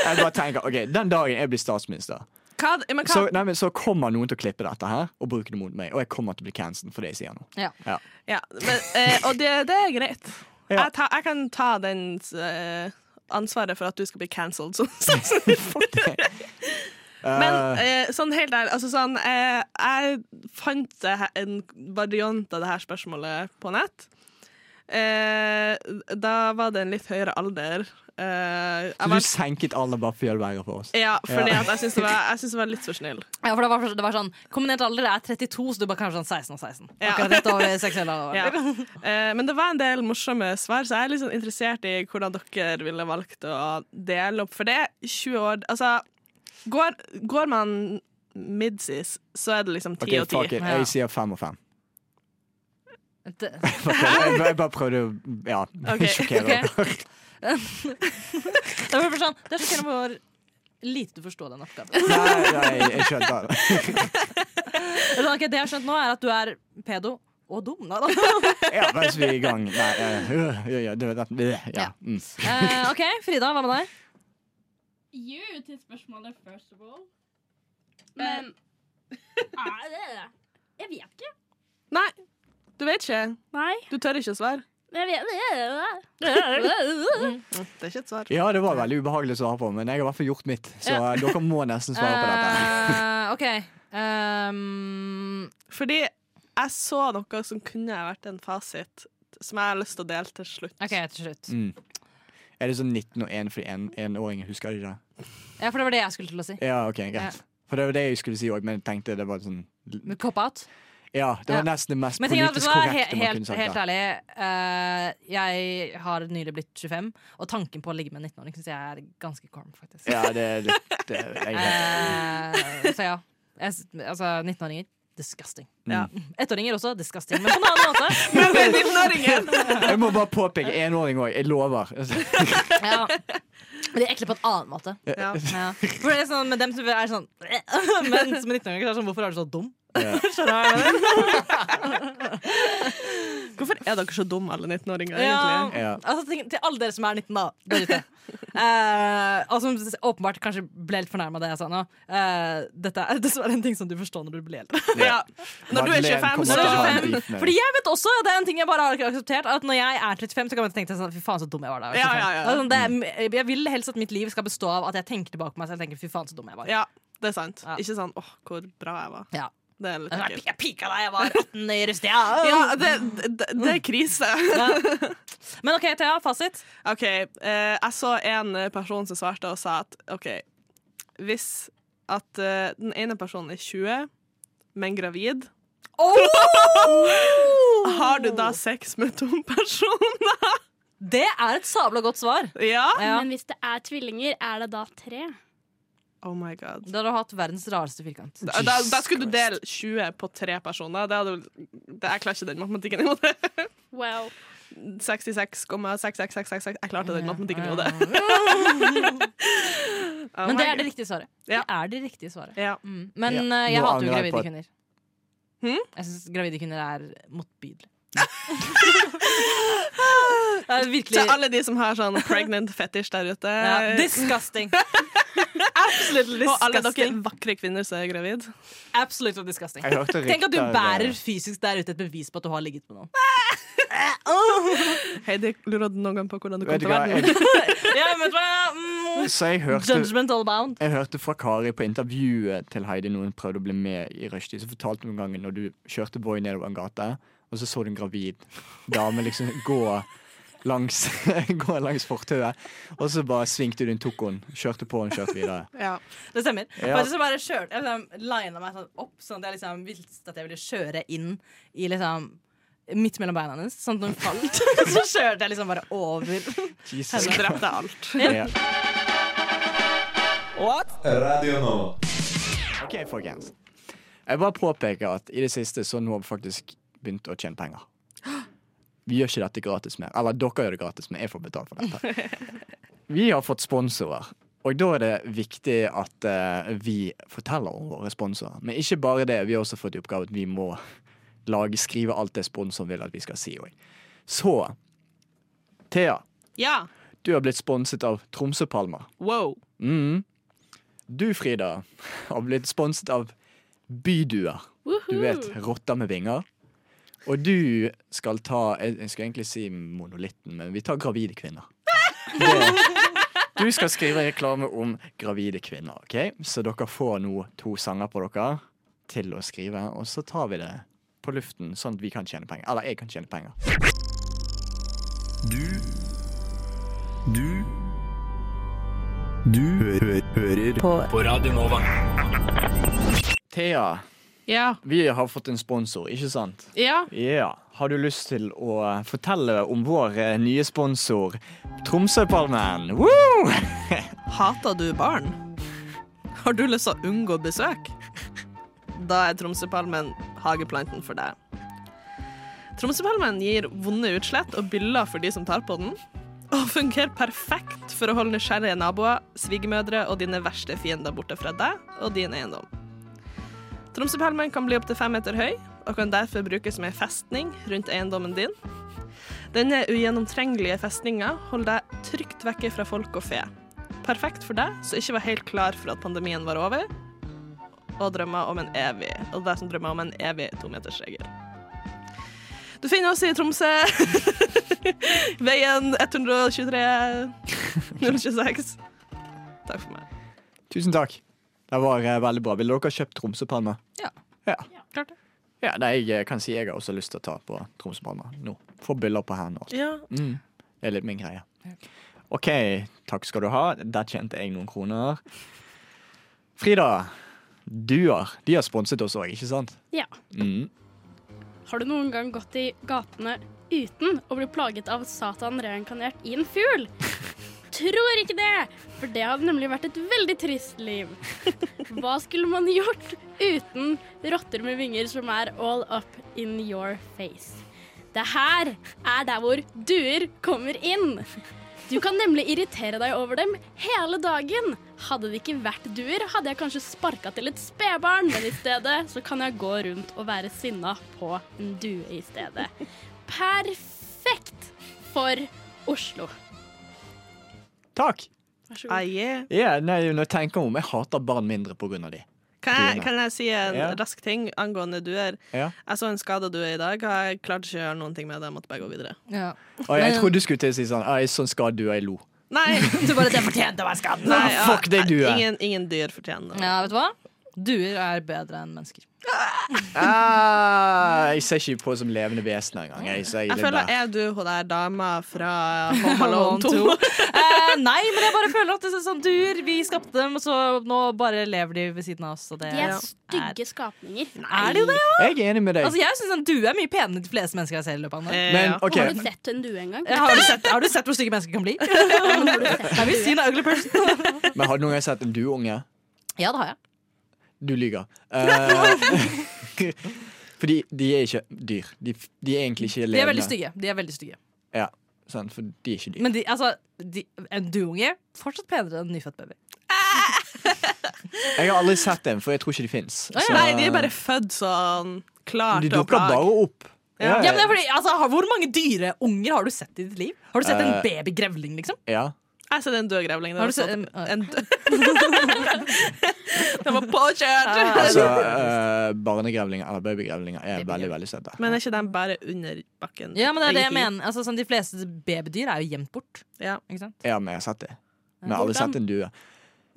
[SPEAKER 3] Jeg bare tenker, ok, Den dagen jeg blir statsminister,
[SPEAKER 5] Hva, men hva,
[SPEAKER 3] så, nei, men, så kommer noen til å klippe dette her og bruke det mot meg. Og jeg kommer til å bli cancelled for det jeg sier nå.
[SPEAKER 4] Ja.
[SPEAKER 3] Ja.
[SPEAKER 5] (laughs) Ja, men, eh, og det, det er greit.
[SPEAKER 3] (laughs) Ja.
[SPEAKER 5] Jeg, ta, jeg kan ta den
[SPEAKER 3] (laughs)
[SPEAKER 5] eh, ansvaret for at du skal bli cancelled. som- som-
[SPEAKER 3] Fuck det.
[SPEAKER 5] Men eh, sånn helt ærlig, altså sånn eh, Jeg fant det her- en variant av det her spørsmålet på nett. Eh, da var det en litt høyere alder. Eh, jeg
[SPEAKER 3] Så
[SPEAKER 5] var-
[SPEAKER 3] du senket alle bare for å gjøre det verre for oss?
[SPEAKER 5] Ja, fordi
[SPEAKER 3] Ja.
[SPEAKER 5] at jeg syns det, var- jeg synes det var litt for snill.
[SPEAKER 4] Ja, for det var, det var sånn Kombinert alder er 32, så du bare kanskje sånn 16 og 16.
[SPEAKER 5] Ja.
[SPEAKER 4] Akkurat rett over seksuell
[SPEAKER 5] Ja.
[SPEAKER 4] alder.
[SPEAKER 5] (laughs) Eh, men det var en del morsomme svar, så jeg er litt sånn interessert i hvordan dere ville valgt å dele opp. For det er 20 år Altså, går, går man midsis, så er det liksom 10
[SPEAKER 3] Ok,
[SPEAKER 5] og 10.
[SPEAKER 3] fuck it. Jeg sier fem og fem.
[SPEAKER 4] Det-
[SPEAKER 3] Fuck it. Jeg, jeg bare prøvde å ja,
[SPEAKER 4] Ok,
[SPEAKER 3] (laughs) sjokkere
[SPEAKER 4] ok.
[SPEAKER 3] dere.
[SPEAKER 4] Det var bare sånn, det er så kjent hvor lite du forstår den oppgaven.
[SPEAKER 3] Nei, nei, jeg skjønte det.
[SPEAKER 4] Det er sånn, ok, det jeg har skjønt nå, er at du er pedo og dum. Nei, da. (laughs)
[SPEAKER 3] Ja, mens vi er i gang. Nei, eh, øh, ja, ja, det var det. Øh, ja. Mm.
[SPEAKER 4] Eh, OK, Frida, hva med deg?
[SPEAKER 6] You til spørsmålet first of all. Men er det det? Jeg vet ikke.
[SPEAKER 5] Nei, du vet ikke.
[SPEAKER 6] Nei.
[SPEAKER 5] Du tør ikke å svare.
[SPEAKER 6] Men jeg vet det.
[SPEAKER 5] Det er ikke et svar.
[SPEAKER 3] ja, det var veldig ubehagelig å svare på, men jeg har i hvert fall gjort mitt. Så
[SPEAKER 4] Ja.
[SPEAKER 3] eh, dere må nesten svare
[SPEAKER 4] (laughs)
[SPEAKER 3] på dette.
[SPEAKER 4] Eh, OK. Ehm,
[SPEAKER 5] Fordi jeg så noe som kunne ha vært en fasit, som jeg har lyst til å dele til slutt.
[SPEAKER 4] OK, til slutt.
[SPEAKER 3] Mm. Er det sånn 19 og 1 fordi en- enåringer husker ikke det?
[SPEAKER 4] Ja, for det var det jeg skulle til å si.
[SPEAKER 3] Ja, ok, greit. For det var det jeg skulle si òg, men jeg tenkte det var sånn
[SPEAKER 4] Men Cop out.
[SPEAKER 3] Ja, det var
[SPEAKER 4] Ja.
[SPEAKER 3] nesten det mest
[SPEAKER 4] Men jeg tenker at, vet du
[SPEAKER 3] politisk
[SPEAKER 4] hva,
[SPEAKER 3] korrekte
[SPEAKER 4] he-
[SPEAKER 3] man kunne
[SPEAKER 4] helt,
[SPEAKER 3] sagt.
[SPEAKER 4] helt
[SPEAKER 3] da.
[SPEAKER 4] ærlig, eh, jeg har nylig blitt 25, og tanken på å ligge med en 19-åring syns jeg er ganske kvalm, faktisk.
[SPEAKER 3] Ja, det er litt det er, jeg,
[SPEAKER 4] Eh, så ja. Jeg, s- altså, 19-åringer disgusting.
[SPEAKER 5] Ja.
[SPEAKER 3] Mm.
[SPEAKER 4] Ettåringer også disgusting, men på en annen måte.
[SPEAKER 5] Men det er 19-åringen!
[SPEAKER 4] Ah.
[SPEAKER 3] jeg må bare påpeke enåring òg. Jeg lover.
[SPEAKER 4] Ja. Men de er ekle på en annen måte.
[SPEAKER 5] Ja.
[SPEAKER 4] Ja. For det er sånn, med dem som er sånn (laughs) Men som er 19-åringer, så er det sånn Hvorfor er du så dum?
[SPEAKER 3] Ja.
[SPEAKER 5] Hvorfor er dere så dumme, alle 19-åringer?
[SPEAKER 4] Ja.
[SPEAKER 5] egentlig?
[SPEAKER 3] Ja.
[SPEAKER 4] Altså, tenk, til alle dere som er 19, da. Der ute. Eh, og som s- åpenbart kanskje ble litt fornærma av det jeg sa nå. Eh, dette er (laughs) dessverre en ting som du forstår når du blir eldre.
[SPEAKER 5] Ja. Når du er
[SPEAKER 3] Madeleine
[SPEAKER 5] 25,
[SPEAKER 3] kommer
[SPEAKER 5] så
[SPEAKER 4] Når du (laughs)
[SPEAKER 3] til å ha
[SPEAKER 4] er
[SPEAKER 3] en
[SPEAKER 4] 25.
[SPEAKER 3] beef med
[SPEAKER 4] Fordi jeg vet også, det er en ting jeg bare har ikke akseptert, at når jeg er 35, så kan man tenke seg sånn Fy faen, så dum jeg var da. jeg var
[SPEAKER 5] Ja, ja,
[SPEAKER 4] 25.
[SPEAKER 5] ja.
[SPEAKER 4] Altså, det er, jeg vil helst at mitt liv skal bestå av at jeg tenker tilbake på meg selv og tenker fy faen, så dum jeg var.
[SPEAKER 5] ja, det er sant.
[SPEAKER 4] Ja.
[SPEAKER 5] Ikke sånn 'åh, hvor bra jeg var'.
[SPEAKER 4] Ja.
[SPEAKER 5] Det er litt
[SPEAKER 4] Jeg,
[SPEAKER 5] ekkelt.
[SPEAKER 4] jeg pika deg, jeg var 18 i Rustia.
[SPEAKER 5] (laughs) Ja, det, det, det er krise. (laughs)
[SPEAKER 4] Men OK, Thea, fasit.
[SPEAKER 5] OK, eh, jeg så en person som svarte og sa at OK, hvis at eh, den ene personen er 20, men gravid Har du
[SPEAKER 4] Oh.
[SPEAKER 5] da sex med (laughs) tom person?
[SPEAKER 4] Det er et sabla godt svar.
[SPEAKER 5] ja?
[SPEAKER 4] Ja.
[SPEAKER 6] Men hvis det er tvillinger, er det da tre?
[SPEAKER 5] Oh my god.
[SPEAKER 4] Da hadde du hatt verdens rareste firkant.
[SPEAKER 5] Da, da, da skulle du dele 20 på tre personer. Det hadde, det, jeg klarer ikke den matematikken i hodet. (laughs)
[SPEAKER 6] Wow.
[SPEAKER 5] 66,66666 Jeg klarte den matematikken i hodet. (laughs) Oh
[SPEAKER 4] Men
[SPEAKER 5] my
[SPEAKER 4] det er
[SPEAKER 5] god.
[SPEAKER 4] det riktige svaret.
[SPEAKER 5] Ja.
[SPEAKER 4] Det er det riktige svaret.
[SPEAKER 5] ja.
[SPEAKER 4] Mm. Men
[SPEAKER 3] Ja.
[SPEAKER 4] eh,
[SPEAKER 3] Nå
[SPEAKER 4] jeg hater
[SPEAKER 3] angrer
[SPEAKER 4] jo
[SPEAKER 3] jeg på
[SPEAKER 4] gravide
[SPEAKER 3] at-
[SPEAKER 4] kvinner.
[SPEAKER 5] Hm?
[SPEAKER 4] Jeg syns gravide kvinner er
[SPEAKER 5] (laughs)
[SPEAKER 4] motbydelige. det er virkelig
[SPEAKER 5] Til alle de som har (laughs) sånn pregnant fetish der ute.
[SPEAKER 4] ja, Disgusting. Absolutely
[SPEAKER 5] og alle dere
[SPEAKER 4] disgusting.
[SPEAKER 5] vakre kvinner som er gravid.
[SPEAKER 4] Absolutely disgusting.
[SPEAKER 3] Jeg hørte eh,
[SPEAKER 4] Tenk at du
[SPEAKER 3] rykter-
[SPEAKER 4] bærer fysisk der ute et bevis på at du har ligget med
[SPEAKER 5] (laughs)
[SPEAKER 4] noen.
[SPEAKER 5] Heidi, lurer du noen gang på hvordan du kom
[SPEAKER 3] Vet du
[SPEAKER 5] til
[SPEAKER 3] hva,
[SPEAKER 5] verden?
[SPEAKER 3] jeg,
[SPEAKER 4] ja, men, vet du hva? mm,
[SPEAKER 3] så jeg hørte
[SPEAKER 4] judgment all bound.
[SPEAKER 3] Jeg hørte fra Kari på intervjuet til Heidi når hun prøvde å bli med i Rushdie. Så fortalte hun om gangen når du kjørte Boy nedover en gate, og så så du en gravid dame liksom gå langs, (laughs) gå langs fortauet. Og så bare svingte du inn, tok henne, kjørte på henne, kjørte videre.
[SPEAKER 5] Ja.
[SPEAKER 4] Det stemmer.
[SPEAKER 3] Ja.
[SPEAKER 4] Faktisk så bare kjørte jeg liksom, lina meg sånn opp, sånn at jeg liksom visste at jeg ville kjøre inn i liksom Midt mellom beina hennes. Sånn at når hun falt, (laughs) så kjørte jeg liksom bare over.
[SPEAKER 3] Jesus.
[SPEAKER 5] Så drepte jeg alt.
[SPEAKER 3] Ja.
[SPEAKER 11] Radio Nova.
[SPEAKER 3] OK, folkens. Jeg bare påpeker at i det siste så har Nov faktisk begynt å tjene penger. Vi gjør ikke dette gratis mer. Eller dere gjør det gratis, men jeg får betalt for dette. Vi har fått sponsorer, og da er det viktig at eh, vi forteller om våre sponsorer. Men ikke bare det, vi har også fått i oppgave at vi må lage, skrive alt det sponsoren vil at vi skal si. også. Så Thea,
[SPEAKER 5] Ja.
[SPEAKER 3] du har blitt sponset av Tromsøpalmer.
[SPEAKER 5] Wow.
[SPEAKER 3] Mm. Du, Frida, har blitt sponset av Byduer. Du vet, rotter med vinger. Og du skal ta Jeg jeg skulle egentlig si Monolitten, men vi tar gravide kvinner. Det, Du skal skrive reklame om gravide kvinner, ok? Så dere får nå to sanger på dere til å skrive, og så tar vi det på luften, sånn at vi kan tjene penger. Eller jeg kan tjene penger.
[SPEAKER 12] Du Du Du hø hø hører på. på Radio Nova.
[SPEAKER 3] Thea,
[SPEAKER 5] Ja.
[SPEAKER 3] vi har fått en sponsor, ikke sant?
[SPEAKER 5] Ja.
[SPEAKER 3] Ja. Har du lyst til å fortelle om vår eh, nye sponsor, Tromsøpalmen? Woo! (laughs)
[SPEAKER 5] Hater du barn? Har du lyst til å unngå besøk? Da er Tromsøpalmen hageplanten for deg. Tromsøpalmen gir vonde utslett og byller for de som tar på den, og fungerer perfekt for å holde nysgjerrige naboer, svigermødre og dine verste fiender borte fra deg og din eiendom. Tromsøpalmen kan bli opptil fem meter høy, og kan derfor brukes som en festning rundt eiendommen din. Denne ugjennomtrengelige festninga holder deg trygt vekke fra folk og fe. Perfekt for deg som ikke var helt klar for at pandemien var over, og drømmer om en evig Og deg som drømmer om en evig tometersregel. Du finner oss i Tromsø. (laughs) Veien
[SPEAKER 3] (laughs)
[SPEAKER 5] 123 026. Takk for meg.
[SPEAKER 3] Tusen takk. Det var eh, veldig bra. Ville dere kjøpt Tromsøpalmer?
[SPEAKER 5] Ja.
[SPEAKER 3] Ja.
[SPEAKER 5] Klart det.
[SPEAKER 3] Ja, nei, jeg eh, kan si jeg har også lyst til å ta på Tromsøpalmer nå. Få byller på hendene. og alt.
[SPEAKER 5] Ja.
[SPEAKER 3] Mm. Det er litt min greie. OK, takk skal du ha. Der tjente jeg noen kroner. Frida, Duer. De har sponset oss òg, ikke sant?
[SPEAKER 6] Ja.
[SPEAKER 3] Mm.
[SPEAKER 6] Har du noen gang gått i gatene uten å bli plaget av Satan reinkarnert i en fugl? Tror ikke det, for det hadde nemlig vært et veldig trist liv. Hva skulle man gjort uten rotter med vinger som er all up in your face? Det her er der hvor duer kommer inn. Du kan nemlig irritere deg over dem hele dagen. Hadde det ikke vært duer, hadde jeg kanskje sparka til et spedbarn, men i stedet så kan jeg gå rundt og være sinna på en due i stedet. Perfekt for Oslo.
[SPEAKER 3] Takk.
[SPEAKER 6] Vær så
[SPEAKER 5] Ah,
[SPEAKER 6] god.
[SPEAKER 5] yeah.
[SPEAKER 3] Ja, nei, når jeg tenker om, jeg hater barn mindre på grunn av de.
[SPEAKER 5] Kan jeg,
[SPEAKER 3] Dine.
[SPEAKER 5] kan jeg si en
[SPEAKER 3] Ja.
[SPEAKER 5] rask ting angående duer?
[SPEAKER 3] Ja.
[SPEAKER 5] Jeg så en skada due i dag, og jeg klarte ikke å gjøre noen ting med det. Jeg måtte bare gå videre.
[SPEAKER 3] Og jeg trodde du skulle til å si sånn «Ai, sånn skal du, jeg lo.
[SPEAKER 5] Nei,
[SPEAKER 3] (laughs)
[SPEAKER 4] Du bare, det fortjente å være skadd.
[SPEAKER 5] nei, ja,
[SPEAKER 3] Fuck det du er.
[SPEAKER 5] Ingen, ingen dyr fortjener det.
[SPEAKER 4] Ja, vet du hva? Duer er bedre enn mennesker.
[SPEAKER 3] Ah, jeg ser ikke på som levende vesener engang. Jeg, så jeg,
[SPEAKER 5] Jeg
[SPEAKER 3] er litt
[SPEAKER 5] føler
[SPEAKER 3] der.
[SPEAKER 5] er du hun der dama
[SPEAKER 3] (laughs)
[SPEAKER 5] fra Home Alone (laughs) 2?
[SPEAKER 4] Eh, nei, men jeg bare føler at det er sånn duer. Vi skapte dem, og så nå bare lever de ved siden av oss. Og det
[SPEAKER 6] De er
[SPEAKER 4] er,
[SPEAKER 6] stygge skapninger.
[SPEAKER 4] er det jo det?
[SPEAKER 3] jeg er enig med deg.
[SPEAKER 4] Altså, jeg syns en due er mye penere enn de fleste mennesker jeg ser i løpet av en dag.
[SPEAKER 5] Eh,
[SPEAKER 3] Men OK,
[SPEAKER 6] Har du sett en due engang?
[SPEAKER 4] Eh, Har du, sett, har du sett hvor stygge mennesker kan (laughs) bli? Have you seen an ugly person?
[SPEAKER 3] men har du noen gang sett en dueunge?
[SPEAKER 4] Ja, det har jeg.
[SPEAKER 3] Du lyver. Eh, fordi de er ikke dyr. De, de er egentlig ikke
[SPEAKER 4] De er
[SPEAKER 3] levende.
[SPEAKER 4] veldig stygge. De er veldig stygge.
[SPEAKER 3] Ja, sant, for de er ikke dyr.
[SPEAKER 4] Men de, altså, de, en dueunge fortsatt penere enn en nyfødt baby.
[SPEAKER 3] Jeg har aldri sett dem, for jeg tror ikke de fins.
[SPEAKER 5] Nei, de er bare født sånn
[SPEAKER 3] altså-
[SPEAKER 5] klart
[SPEAKER 3] De
[SPEAKER 5] til å
[SPEAKER 3] dukker
[SPEAKER 5] plage.
[SPEAKER 3] bare opp.
[SPEAKER 5] Ja.
[SPEAKER 4] Ja, men det er fordi, altså, har- Hvor mange dyreunger har du sett i ditt liv? Har du sett en
[SPEAKER 3] Eh.
[SPEAKER 4] babygrevling, liksom?
[SPEAKER 3] Ja.
[SPEAKER 5] Jeg har sett en død grevling.
[SPEAKER 4] Har du
[SPEAKER 5] Den var,
[SPEAKER 4] sett-
[SPEAKER 5] sånn-
[SPEAKER 4] eh,
[SPEAKER 5] en (laughs) død- Den var
[SPEAKER 4] Ah.
[SPEAKER 5] (laughs) påkjørt!
[SPEAKER 3] Altså, eh, barnegrevlinger eller babygrevlinger er veldig veldig søte.
[SPEAKER 5] Men er ikke den bare under bakken?
[SPEAKER 4] Ja, men det er det jeg
[SPEAKER 5] egentlig?
[SPEAKER 4] mener. Altså, sånn, de fleste babydyr er jo gjemt bort.
[SPEAKER 5] Ja.
[SPEAKER 4] Ikke sant?
[SPEAKER 3] Ja, men jeg har sett det. Men jeg har aldri
[SPEAKER 6] Hvordan?
[SPEAKER 3] sett en due.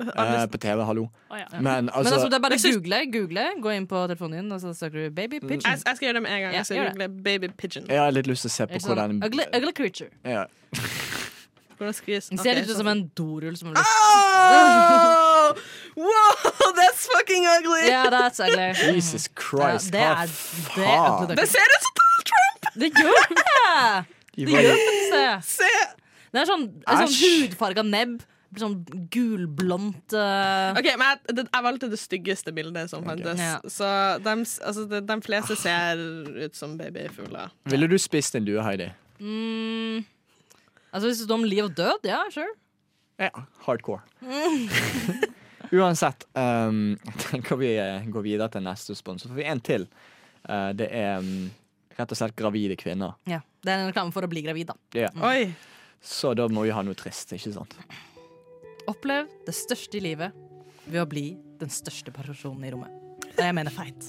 [SPEAKER 5] Aldri
[SPEAKER 3] Eh, på TV, hallo.
[SPEAKER 6] Å, ja.
[SPEAKER 3] Men
[SPEAKER 4] men altså,
[SPEAKER 3] altså
[SPEAKER 4] det er bare å google, google, gå inn på telefonen din, og så søker du 'baby
[SPEAKER 5] Jeg,
[SPEAKER 4] pigeon'.
[SPEAKER 5] jeg skal gjøre det med en gang.
[SPEAKER 4] Ja,
[SPEAKER 5] Jeg skal
[SPEAKER 4] gjør det.
[SPEAKER 5] google baby pigeon.
[SPEAKER 3] Jeg har litt lyst til å se på
[SPEAKER 4] Ikke sant?
[SPEAKER 3] hvordan
[SPEAKER 4] ugly, ugly creature.
[SPEAKER 3] ja.
[SPEAKER 5] Hvordan skrives
[SPEAKER 4] Den
[SPEAKER 5] Ok,
[SPEAKER 4] ser litt ut
[SPEAKER 5] sånn.
[SPEAKER 4] som en dorull som har blitt
[SPEAKER 5] Oh! Wow, (laughs) that's fucking ugly!
[SPEAKER 4] Ja, that's ugly.
[SPEAKER 3] (laughs) Jesus Christ,
[SPEAKER 4] det
[SPEAKER 3] hva
[SPEAKER 4] er- det er ugly
[SPEAKER 3] faen?
[SPEAKER 4] duck.
[SPEAKER 5] Det ser ut som Donald Trump!
[SPEAKER 4] Det gjør det!
[SPEAKER 3] De
[SPEAKER 4] Det
[SPEAKER 3] var-
[SPEAKER 4] gjør det!
[SPEAKER 5] Se!
[SPEAKER 4] Det er sånn, en sånn
[SPEAKER 3] Æsj.
[SPEAKER 4] hudfarga nebb. Sånn gulblondt eh,
[SPEAKER 5] Ok, men jeg, det, jeg valgte det styggeste bildet som fantes.
[SPEAKER 4] Ja. Ah.
[SPEAKER 5] Så de, altså, de, de fleste ser ut som babyfugler.
[SPEAKER 3] Ville du spist en due, Heidi?
[SPEAKER 4] mm, Altså Hvis det står om liv og død, ja, sure.
[SPEAKER 3] Ja,
[SPEAKER 4] (laughs)
[SPEAKER 3] hardcore. Uansett, um, jeg tenker vi eh, går videre til neste sponsor. For vi har en til. Eh, det er mm, rett og slett gravide kvinner.
[SPEAKER 4] Ja. Det er en reklame for å bli gravid. da
[SPEAKER 3] Ja.
[SPEAKER 5] Oi!
[SPEAKER 3] Så da må vi ha noe trist, ikke sant?
[SPEAKER 4] Opplev det største i livet ved å bli den største personen i rommet. Og jeg mener feit.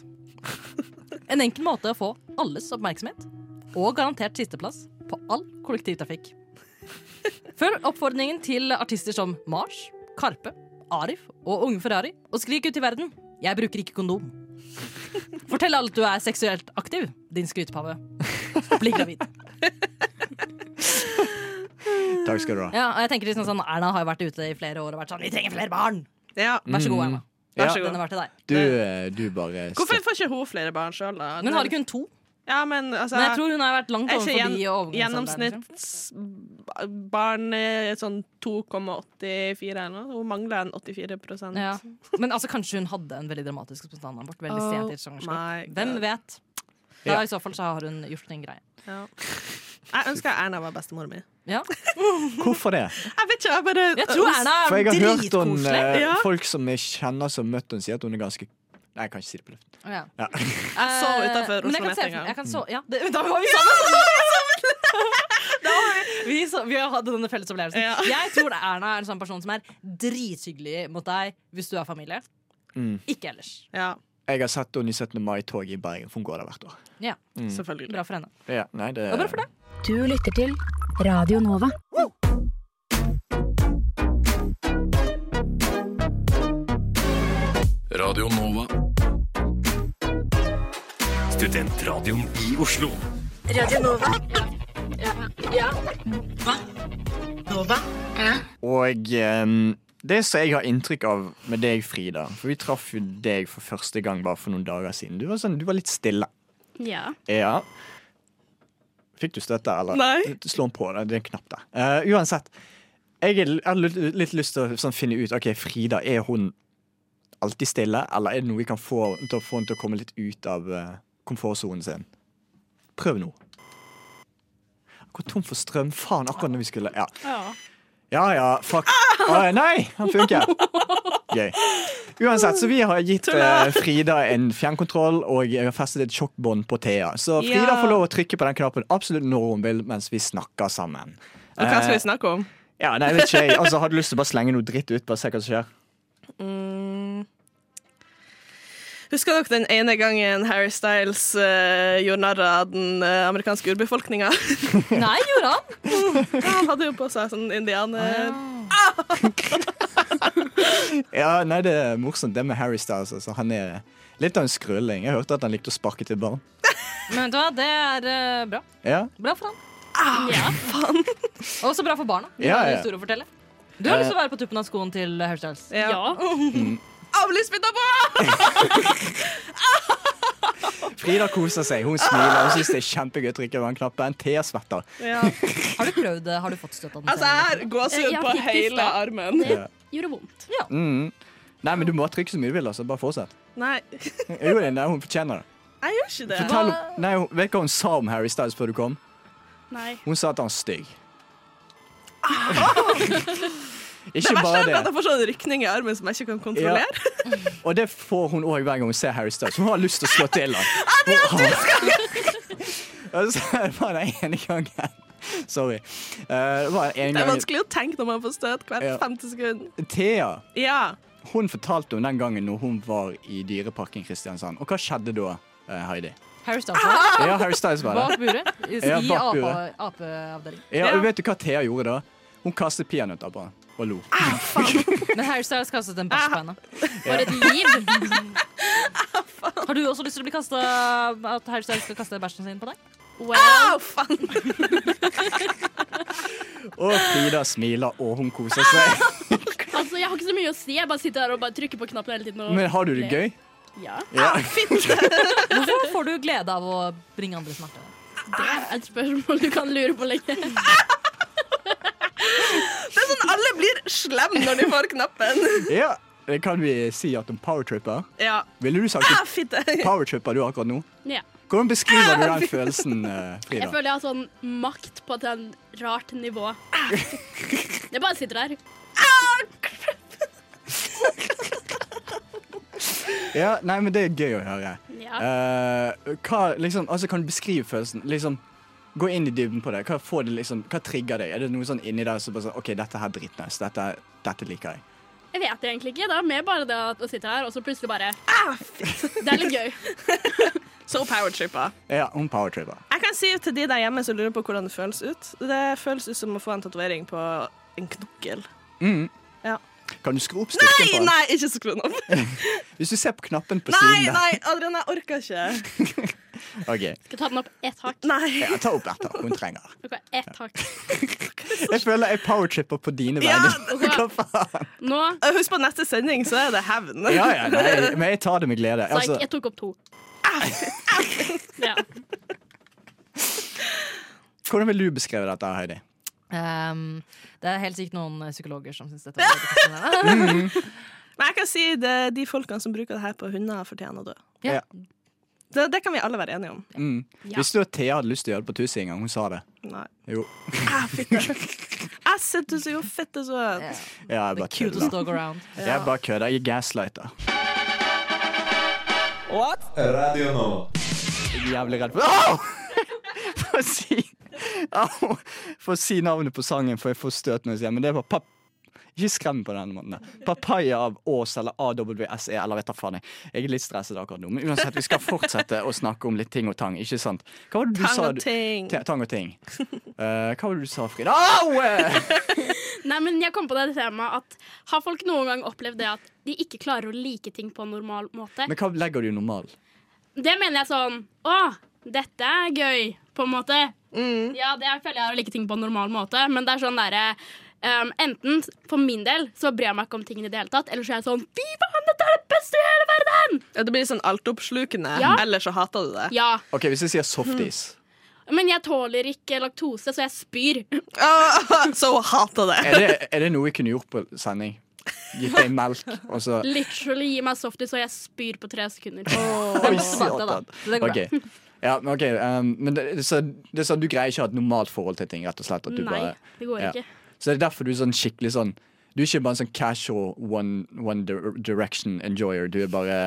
[SPEAKER 4] En enkel måte å få alles oppmerksomhet og garantert sisteplass på all kollektivtrafikk. Følg oppfordringen til artister som Mars, Karpe, Arif og Unge Ferrari, og skrik ut i verden 'Jeg bruker ikke kondom'. Fortell alle at du er seksuelt aktiv, din skrytepave. Bli gravid.
[SPEAKER 3] Takk skal du ha.
[SPEAKER 4] Mm. Ja, og jeg tenker liksom sånn, Erna har jo vært ute i flere år og vært sånn 'Vi trenger flere barn'. Vær så god,
[SPEAKER 3] Mm.
[SPEAKER 4] Erna.
[SPEAKER 3] Ja.
[SPEAKER 4] Den er til deg.
[SPEAKER 3] Du, eh, du bare
[SPEAKER 5] Hvorfor får ikke hun flere barn sjøl, da?
[SPEAKER 4] Men har ikke hun to?
[SPEAKER 5] Ja, men, altså,
[SPEAKER 4] Men jeg tror hun har vært langt
[SPEAKER 5] er ikke
[SPEAKER 4] overforbi
[SPEAKER 5] gjen-
[SPEAKER 4] overgangsalderen, liksom.
[SPEAKER 5] Gjennomsnittsbarn er sånn 2,84 eller noe. Hun mangler en 84
[SPEAKER 4] Ja. Men altså, kanskje hun hadde en veldig dramatisk spontanabort veldig
[SPEAKER 5] Oh
[SPEAKER 4] sent i et svangerskap.
[SPEAKER 5] my
[SPEAKER 4] Hvem
[SPEAKER 5] God.
[SPEAKER 4] vet? Da
[SPEAKER 5] Ja.
[SPEAKER 4] I så fall så har hun gjort en greie.
[SPEAKER 5] Ja. Jeg ønsker Erna var bestemor
[SPEAKER 4] (laughs)
[SPEAKER 5] mi.
[SPEAKER 4] Ja.
[SPEAKER 3] Hvorfor det?
[SPEAKER 5] Jeg vet ikke, jeg bare
[SPEAKER 4] Jeg tror Erna
[SPEAKER 3] For jeg har
[SPEAKER 4] er
[SPEAKER 3] hørt om eh,
[SPEAKER 4] dritkoselig.
[SPEAKER 3] folk som jeg kjenner som møtte henne, si at hun er ganske Nei, jeg kan ikke si det på luften.
[SPEAKER 4] Ja.
[SPEAKER 3] Ja.
[SPEAKER 4] Eh,
[SPEAKER 5] Så utenfor
[SPEAKER 4] men jeg kan
[SPEAKER 5] Oslo Nett
[SPEAKER 4] se
[SPEAKER 5] en
[SPEAKER 4] for-
[SPEAKER 5] gang.
[SPEAKER 4] jeg kan så- Ja, det, (laughs) da var vi sammen! Da var vi- vi, så, vi hadde denne felles opplevelsen.
[SPEAKER 5] Ja.
[SPEAKER 4] Jeg tror Erna er en sånn person som er drithyggelig mot deg hvis du er familie.
[SPEAKER 3] Mm.
[SPEAKER 4] Ikke ellers.
[SPEAKER 5] Ja,
[SPEAKER 3] Jeg har sett henne i 17. mai-tog i Bergen, for hun går der hvert år.
[SPEAKER 4] Ja.
[SPEAKER 3] Mm.
[SPEAKER 5] selvfølgelig.
[SPEAKER 4] Bra for henne.
[SPEAKER 3] Ja, nei, det,
[SPEAKER 4] Og bra for deg.
[SPEAKER 2] Du lytter til Radio Nova.
[SPEAKER 13] Radio Nova.
[SPEAKER 10] Studentradioen i Oslo.
[SPEAKER 2] Radio Nova. Ja. Hva? Nova?
[SPEAKER 3] Og ehm, det som jeg har inntrykk av med deg, Frida For vi traff jo deg for første gang bare for noen dager siden. Du var, sånn, du var litt stille.
[SPEAKER 6] Ja.
[SPEAKER 3] Ja. Fikk du støtte, eller?
[SPEAKER 5] Nei.
[SPEAKER 3] Slå den på, det er en knapp der. Eh, uansett. Jeg er- jeg har litt litt lyst til å sånn, finne ut Ok, Frida, er hun alltid stille, eller er det noe vi kan få til å, få henne til å komme litt ut av eh, komfortsonen sin? Prøv nå. Går tom for strøm. Faen, akkurat når vi skulle Ja. Ja ja, fuck. Å, nei, han funker. Gøy. Uansett, så vi har gitt eh, Frida en fjernkontroll og jeg har festet et sjokkbånd på Thea. Så Frida
[SPEAKER 5] Ja.
[SPEAKER 3] får lov å trykke på den knappen absolutt når hun vil mens vi snakker sammen.
[SPEAKER 5] Og hva skal
[SPEAKER 3] Eh,
[SPEAKER 5] vi snakke om?
[SPEAKER 3] ja, nei, vet ikke jeg. Altså, Har du lyst til å bare slenge noe dritt ut? Bare se hva som skjer?
[SPEAKER 5] Husker dere den ene gangen Harry Styles eh, gjorde narr av den eh, amerikanske (laughs) urbefolkninga?
[SPEAKER 4] Nei, gjorde han?
[SPEAKER 5] han hadde jo på seg sånn indianer...
[SPEAKER 4] Eh,
[SPEAKER 3] Ja, nei, Det er morsomt, det med Harry Styles. Altså. Han er litt av en skrulling. Jeg hørte at han likte å sparke til barn.
[SPEAKER 4] Men vet du hva, det er eh, bra.
[SPEAKER 3] Ja,
[SPEAKER 4] Bra for han. (laughs) Og så bra for barna. Vi
[SPEAKER 3] Ja,
[SPEAKER 4] har en
[SPEAKER 3] ja.
[SPEAKER 4] historie å fortelle. Du har
[SPEAKER 3] Eh.
[SPEAKER 4] lyst til å være på tuppen av skoen til Harry Styles.
[SPEAKER 5] Ja. Mm. (laughs) Jeg blir spytta på!
[SPEAKER 3] Frida koser seg. Hun smiler. Hun syns det er kjempegøy å trykke på den knappen. Thea svetter.
[SPEAKER 5] Ja.
[SPEAKER 4] Har du prøvd det? Har du fått støtte av den?
[SPEAKER 5] Altså, jeg har gåsehud
[SPEAKER 6] Ja,
[SPEAKER 5] på
[SPEAKER 6] fikk du
[SPEAKER 5] hele
[SPEAKER 6] støtte?
[SPEAKER 5] armen.
[SPEAKER 6] Det gjorde vondt.
[SPEAKER 3] Mm. Nei, men du må trykke så mye du vil. altså. Bare fortsett.
[SPEAKER 5] Nei,
[SPEAKER 3] Jo, det er- nei, hun fortjener det.
[SPEAKER 5] jeg gjør ikke det.
[SPEAKER 3] Fortell, nei, hun- vet du hva hun sa om Harry Styles før du kom?
[SPEAKER 6] Nei.
[SPEAKER 3] Hun sa at han er stygg.
[SPEAKER 5] Det
[SPEAKER 3] (laughs) Ikke
[SPEAKER 5] Ah! verste
[SPEAKER 3] bare
[SPEAKER 5] er at
[SPEAKER 3] det.
[SPEAKER 5] jeg får sånn rykning i armen som jeg ikke kan kontrollere.
[SPEAKER 3] Og det får hun òg hver gang hun ser Harry Styles. Hun har lyst til å slå til ham.
[SPEAKER 5] (laughs)
[SPEAKER 3] (laughs) Og så er det bare den ene gangen. Sorry. Eh, det var en
[SPEAKER 5] Det er
[SPEAKER 3] gang
[SPEAKER 5] vanskelig å tenke når man får støt hvert
[SPEAKER 3] Ja.
[SPEAKER 5] femte sekund.
[SPEAKER 3] Thea
[SPEAKER 5] Ja.
[SPEAKER 3] hun fortalte om den gangen når hun var i Dyreparken i Kristiansand. Og hva skjedde da, eh, Heidi?
[SPEAKER 4] Harry Styles var
[SPEAKER 5] Ah!
[SPEAKER 3] Ja, Harry Styles var der.
[SPEAKER 4] bak buret. I
[SPEAKER 3] Ja,
[SPEAKER 4] i
[SPEAKER 3] bak
[SPEAKER 4] ape-
[SPEAKER 3] buret.
[SPEAKER 4] apeavdeling.
[SPEAKER 3] Ja, og vet du hva Thea gjorde da? Hun kastet peanøtter på han og lo.
[SPEAKER 4] Men Harry Styles kastet en bæsj på henne. For et liv! Har du også lyst til å bli kastet At Harry Styles skal kaste bæsjen sin på deg?
[SPEAKER 5] Au, faen!
[SPEAKER 3] Og Frida smiler, og hun koser seg.
[SPEAKER 5] Ah!
[SPEAKER 6] Altså, Jeg har ikke så mye å si. Jeg bare sitter her og bare trykker på knappen hele tiden. Og
[SPEAKER 3] Men har du det gøy?
[SPEAKER 6] Ja,
[SPEAKER 3] Ja.
[SPEAKER 4] Hvorfor får du glede av å bringe andre smerte?
[SPEAKER 6] Det er et spørsmål du kan lure på lenge.
[SPEAKER 5] Det er sånn alle blir slem når de får knappen. (laughs)
[SPEAKER 3] ja. Det kan vi si at om powertripper.
[SPEAKER 5] Ja.
[SPEAKER 3] Ville du sagt
[SPEAKER 5] Ah,
[SPEAKER 3] at
[SPEAKER 5] fitte.
[SPEAKER 3] powertripper du har akkurat nå?
[SPEAKER 6] Ja.
[SPEAKER 3] Hvordan beskriver du den følelsen, eh,
[SPEAKER 6] Jeg
[SPEAKER 3] Frida?
[SPEAKER 6] føler jeg har sånn makt på et sånn rart
[SPEAKER 3] (laughs)
[SPEAKER 6] nivå. Jeg bare sitter der.
[SPEAKER 3] Ja, nei, men det er gøy å høre.
[SPEAKER 6] Ja.
[SPEAKER 3] Eh, hva, liksom, altså, kan du beskrive følelsen? Liksom, gå inn i dybden på det. Hva, får det liksom, hva trigger deg? Er det noe sånn inni der som bare sånn OK, dette her er dritnice. Dette, dette liker jeg.
[SPEAKER 6] Jeg vet egentlig ikke. Det er mer bare det at å sitte her, og så plutselig
[SPEAKER 3] Ah,
[SPEAKER 6] bare Det er litt gøy.
[SPEAKER 5] (laughs) Så powertrippa.
[SPEAKER 3] Ja, hun powertripper.
[SPEAKER 5] Jeg kan kan si til de der hjemme som lurer på hvordan det føles ut. Det føles ut som å få en tatovering på en knokkel.
[SPEAKER 3] Mm.
[SPEAKER 5] Ja.
[SPEAKER 3] Kan du skru opp styrken
[SPEAKER 5] Nei,
[SPEAKER 3] på den?
[SPEAKER 5] (laughs) nei, ikke skru den opp!
[SPEAKER 3] Hvis du ser på knappen på
[SPEAKER 5] Nei,
[SPEAKER 3] siden
[SPEAKER 5] nei, Adrian, jeg orker ikke.
[SPEAKER 3] der. Ok.
[SPEAKER 6] Skal ta den opp ett hakk?
[SPEAKER 5] Nei.
[SPEAKER 3] Ja, ta opp dette. Hun trenger det.
[SPEAKER 6] Ok, ett hakk.
[SPEAKER 3] Jeg føler jeg powerchipper på dine
[SPEAKER 5] Ja,
[SPEAKER 3] vegne.
[SPEAKER 6] Hva
[SPEAKER 3] faen?
[SPEAKER 6] Nå
[SPEAKER 5] Husk på neste sending, så er det hevn.
[SPEAKER 3] Ja, ja, nei, men jeg tar det med glede.
[SPEAKER 6] Psych,
[SPEAKER 3] Altså, Ah,
[SPEAKER 6] jeg tok opp to. ja.
[SPEAKER 3] hvordan vil du beskrive dette, Heidi?
[SPEAKER 14] Ehm, det er helt sikkert noen eh, psykologer som syns dette var
[SPEAKER 4] (laughs)
[SPEAKER 14] veldig fascinerende.
[SPEAKER 5] Men jeg kan si det, de folkene som bruker det her på hunder, fortjener å dø.
[SPEAKER 3] Ja.
[SPEAKER 5] Det, det kan vi alle være enige om.
[SPEAKER 3] Mm.
[SPEAKER 5] Ja.
[SPEAKER 3] Visste du at Thea hadde lyst til å gjøre det på Tussi en gang? Hun sa det.
[SPEAKER 5] Nei. Ah,
[SPEAKER 3] Jo.
[SPEAKER 5] Jeg sitter så jo fette søt.
[SPEAKER 3] Ja, jeg bare
[SPEAKER 14] cutest dog
[SPEAKER 3] kødder.
[SPEAKER 14] around.
[SPEAKER 3] Jeg bare kødder. Jeg er gaslighter.
[SPEAKER 5] What?
[SPEAKER 7] Radio Nova.
[SPEAKER 3] Jeg er jævlig redd for Au! (laughs) For å si Au! For å si navnet på sangen, for jeg får støt når jeg sier det, men det var pap... Ikke skrem på den måten. der. Papaya av Ås eller AWSE E, eller vet da faen. Jeg Jeg er litt stresset akkurat nå, men uansett, vi skal fortsette å snakke om litt ting og tang, ikke sant? Hva var det du
[SPEAKER 5] Tang
[SPEAKER 3] sa?
[SPEAKER 5] og
[SPEAKER 3] du-
[SPEAKER 5] ting.
[SPEAKER 3] Te- Tang og ting. Eh, hva var det du sa, Frida? Au!
[SPEAKER 6] Nei, men jeg kom på det temaet at har folk noen gang opplevd det at de ikke klarer å like ting på en normal måte?
[SPEAKER 3] Men hva legger du i normal?
[SPEAKER 6] Det mener jeg sånn Å, dette er gøy, på en måte. Ja, det føler jeg er å like ting på en normal måte, men det er sånn derre um, Enten, for min del, så bryr jeg meg ikke om tingene i det hele tatt, eller så er jeg sånn Fy faen, dette er det beste i hele verden!
[SPEAKER 5] Ja, det blir sånn altoppslukende.
[SPEAKER 6] Ja.
[SPEAKER 5] Ellers så hater du det.
[SPEAKER 6] Ja.
[SPEAKER 3] Ok, Hvis jeg sier softis,
[SPEAKER 6] Men jeg tåler ikke laktose, så jeg spyr. (laughs)
[SPEAKER 5] så hun hater det.
[SPEAKER 3] er det, er det noe jeg kunne gjort på sending? Gitt deg melk, og så
[SPEAKER 6] Literally gi meg softis, og jeg spyr på tre sekunder.
[SPEAKER 3] Oi, satan. Ok. Ja, men ok, um, men det, så, det er sånn, du greier ikke å ha et normalt forhold til ting, rett og slett? At du
[SPEAKER 6] Nei,
[SPEAKER 3] bare,
[SPEAKER 6] det går
[SPEAKER 3] ja.
[SPEAKER 6] ikke.
[SPEAKER 3] Så det er derfor du er sånn skikkelig sånn Du er ikke bare en sånn casual one, one dir- direction enjoyer. Du er bare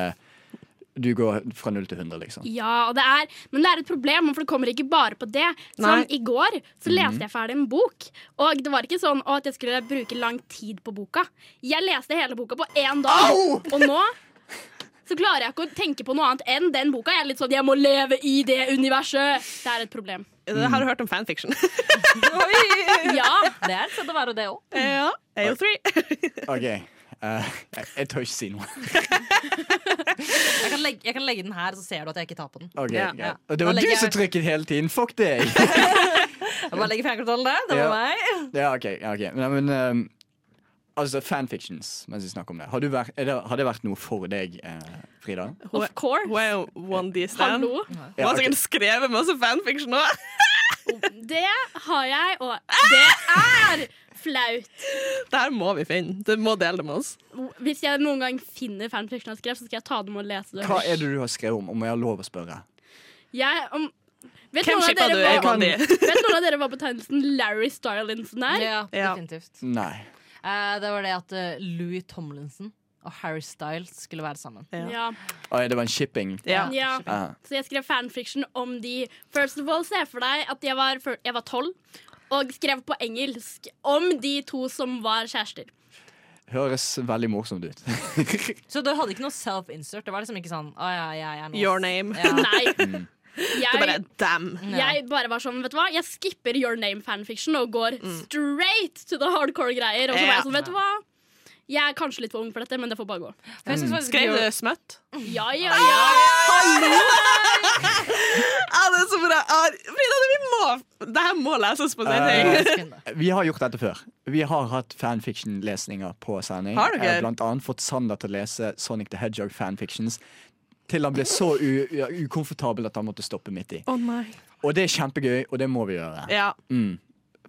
[SPEAKER 3] Du går fra null til 100, liksom.
[SPEAKER 6] Ja, og det er, men det er et problem, for det kommer ikke bare på det. Som
[SPEAKER 3] Nei.
[SPEAKER 6] I går så
[SPEAKER 3] Mhm.
[SPEAKER 6] leste jeg ferdig en bok, og det var ikke sånn å, at jeg skulle bruke lang tid på boka. Jeg leste hele boka på én dag,
[SPEAKER 15] Au!
[SPEAKER 6] og nå så klarer jeg ikke å tenke på noe annet enn den boka. Jeg er litt sånn jeg må leve i det universet. Det er et problem.
[SPEAKER 5] Det har du hørt om fanfiction.
[SPEAKER 6] ja.
[SPEAKER 14] Det er et sted å være, det òg.
[SPEAKER 5] (laughs) Ja. AO3.
[SPEAKER 3] OK. eh, jeg, jeg tør ikke si noe.
[SPEAKER 14] Jeg, kan legge- jeg kan legge den her, så ser du at jeg ikke tar på den.
[SPEAKER 3] Ok,
[SPEAKER 14] Ja.
[SPEAKER 3] greit.
[SPEAKER 14] Ja.
[SPEAKER 3] Og Det
[SPEAKER 14] Da
[SPEAKER 3] var du
[SPEAKER 14] legger
[SPEAKER 3] som
[SPEAKER 14] jeg-
[SPEAKER 3] trykket hele tiden. Fuck deg!
[SPEAKER 14] Jeg bare legger fingerkontrollen der. Det var
[SPEAKER 3] Ja.
[SPEAKER 14] meg.
[SPEAKER 3] Ja, OK. ja, ok. Men, men um, altså, fanfictions, mens vi snakker om det. Har, du vært, er det, har det vært noe for deg, eh, Frida?
[SPEAKER 5] Of course. Hun er jo one D stand.
[SPEAKER 6] Hallo?
[SPEAKER 5] Hun har sikkert skrevet masse fanfiction nå.
[SPEAKER 6] Det har jeg, og det er flaut.
[SPEAKER 5] Det her må vi finne. Du må dele det med oss.
[SPEAKER 6] Hvis jeg noen gang finner fanfiction jeg skrev, så skal jeg ta dem og lese det.
[SPEAKER 3] Hva er det du har skrevet om, om jeg har lov å spørre?
[SPEAKER 6] Jeg, om, vet
[SPEAKER 5] Hvem
[SPEAKER 6] noen av
[SPEAKER 5] shippa
[SPEAKER 6] dere
[SPEAKER 5] du,
[SPEAKER 6] hva-
[SPEAKER 5] Egon D?
[SPEAKER 6] (laughs) Vet noen av dere hva betegnelsen Larry Starlinson er?
[SPEAKER 14] Ja, definitivt.
[SPEAKER 3] Nei.
[SPEAKER 14] Eh, det var det at eh, Louis Tomlinson og Harry Styles skulle være sammen.
[SPEAKER 6] Ja.
[SPEAKER 3] Oi, det var en shipping?
[SPEAKER 6] Ja.
[SPEAKER 3] Ah.
[SPEAKER 6] Så jeg skrev fanfiction om de. First of all, se for deg at jeg var før- jeg var tolv og skrev på engelsk om de to som var kjærester.
[SPEAKER 3] Høres veldig morsomt ut. (laughs)
[SPEAKER 14] Så du hadde ikke noe self-insert? Det var liksom ikke sånn ah, ja, ja, jeg er nå-
[SPEAKER 5] Your name.
[SPEAKER 14] Ja.
[SPEAKER 5] (laughs)
[SPEAKER 6] Nei.
[SPEAKER 5] Det bare
[SPEAKER 6] Jeg,
[SPEAKER 5] dem.
[SPEAKER 6] jeg bare var sånn, vet du hva, jeg skipper Your Name-fanfiction og går
[SPEAKER 5] Mm.
[SPEAKER 6] straight to the hardcore-greier. Og så var jeg
[SPEAKER 5] Ja.
[SPEAKER 6] sånn, vet du hva, jeg er kanskje litt for ung for dette, men det får bare gå.
[SPEAKER 14] For
[SPEAKER 4] Mm.
[SPEAKER 14] jeg synes faktisk
[SPEAKER 5] Skrev
[SPEAKER 14] Your-
[SPEAKER 5] du smøtt?
[SPEAKER 6] Ja, ja, ja. Hallo!
[SPEAKER 5] Ja, det er så bra. Ah, Frida, vi må Det her må leses på sending.
[SPEAKER 3] Eh, vi har gjort dette før. Vi har hatt fanfiction-lesninger på sending.
[SPEAKER 5] Har dere?
[SPEAKER 3] Eh, Blant annet fått Sander til å lese Sonic the Hedgehog fanfictions til han ble så u ja, ukomfortabel at han måtte stoppe midt i.
[SPEAKER 5] Å nei.
[SPEAKER 3] Og det er kjempegøy, og det må vi gjøre.
[SPEAKER 5] Ja.
[SPEAKER 3] Mm.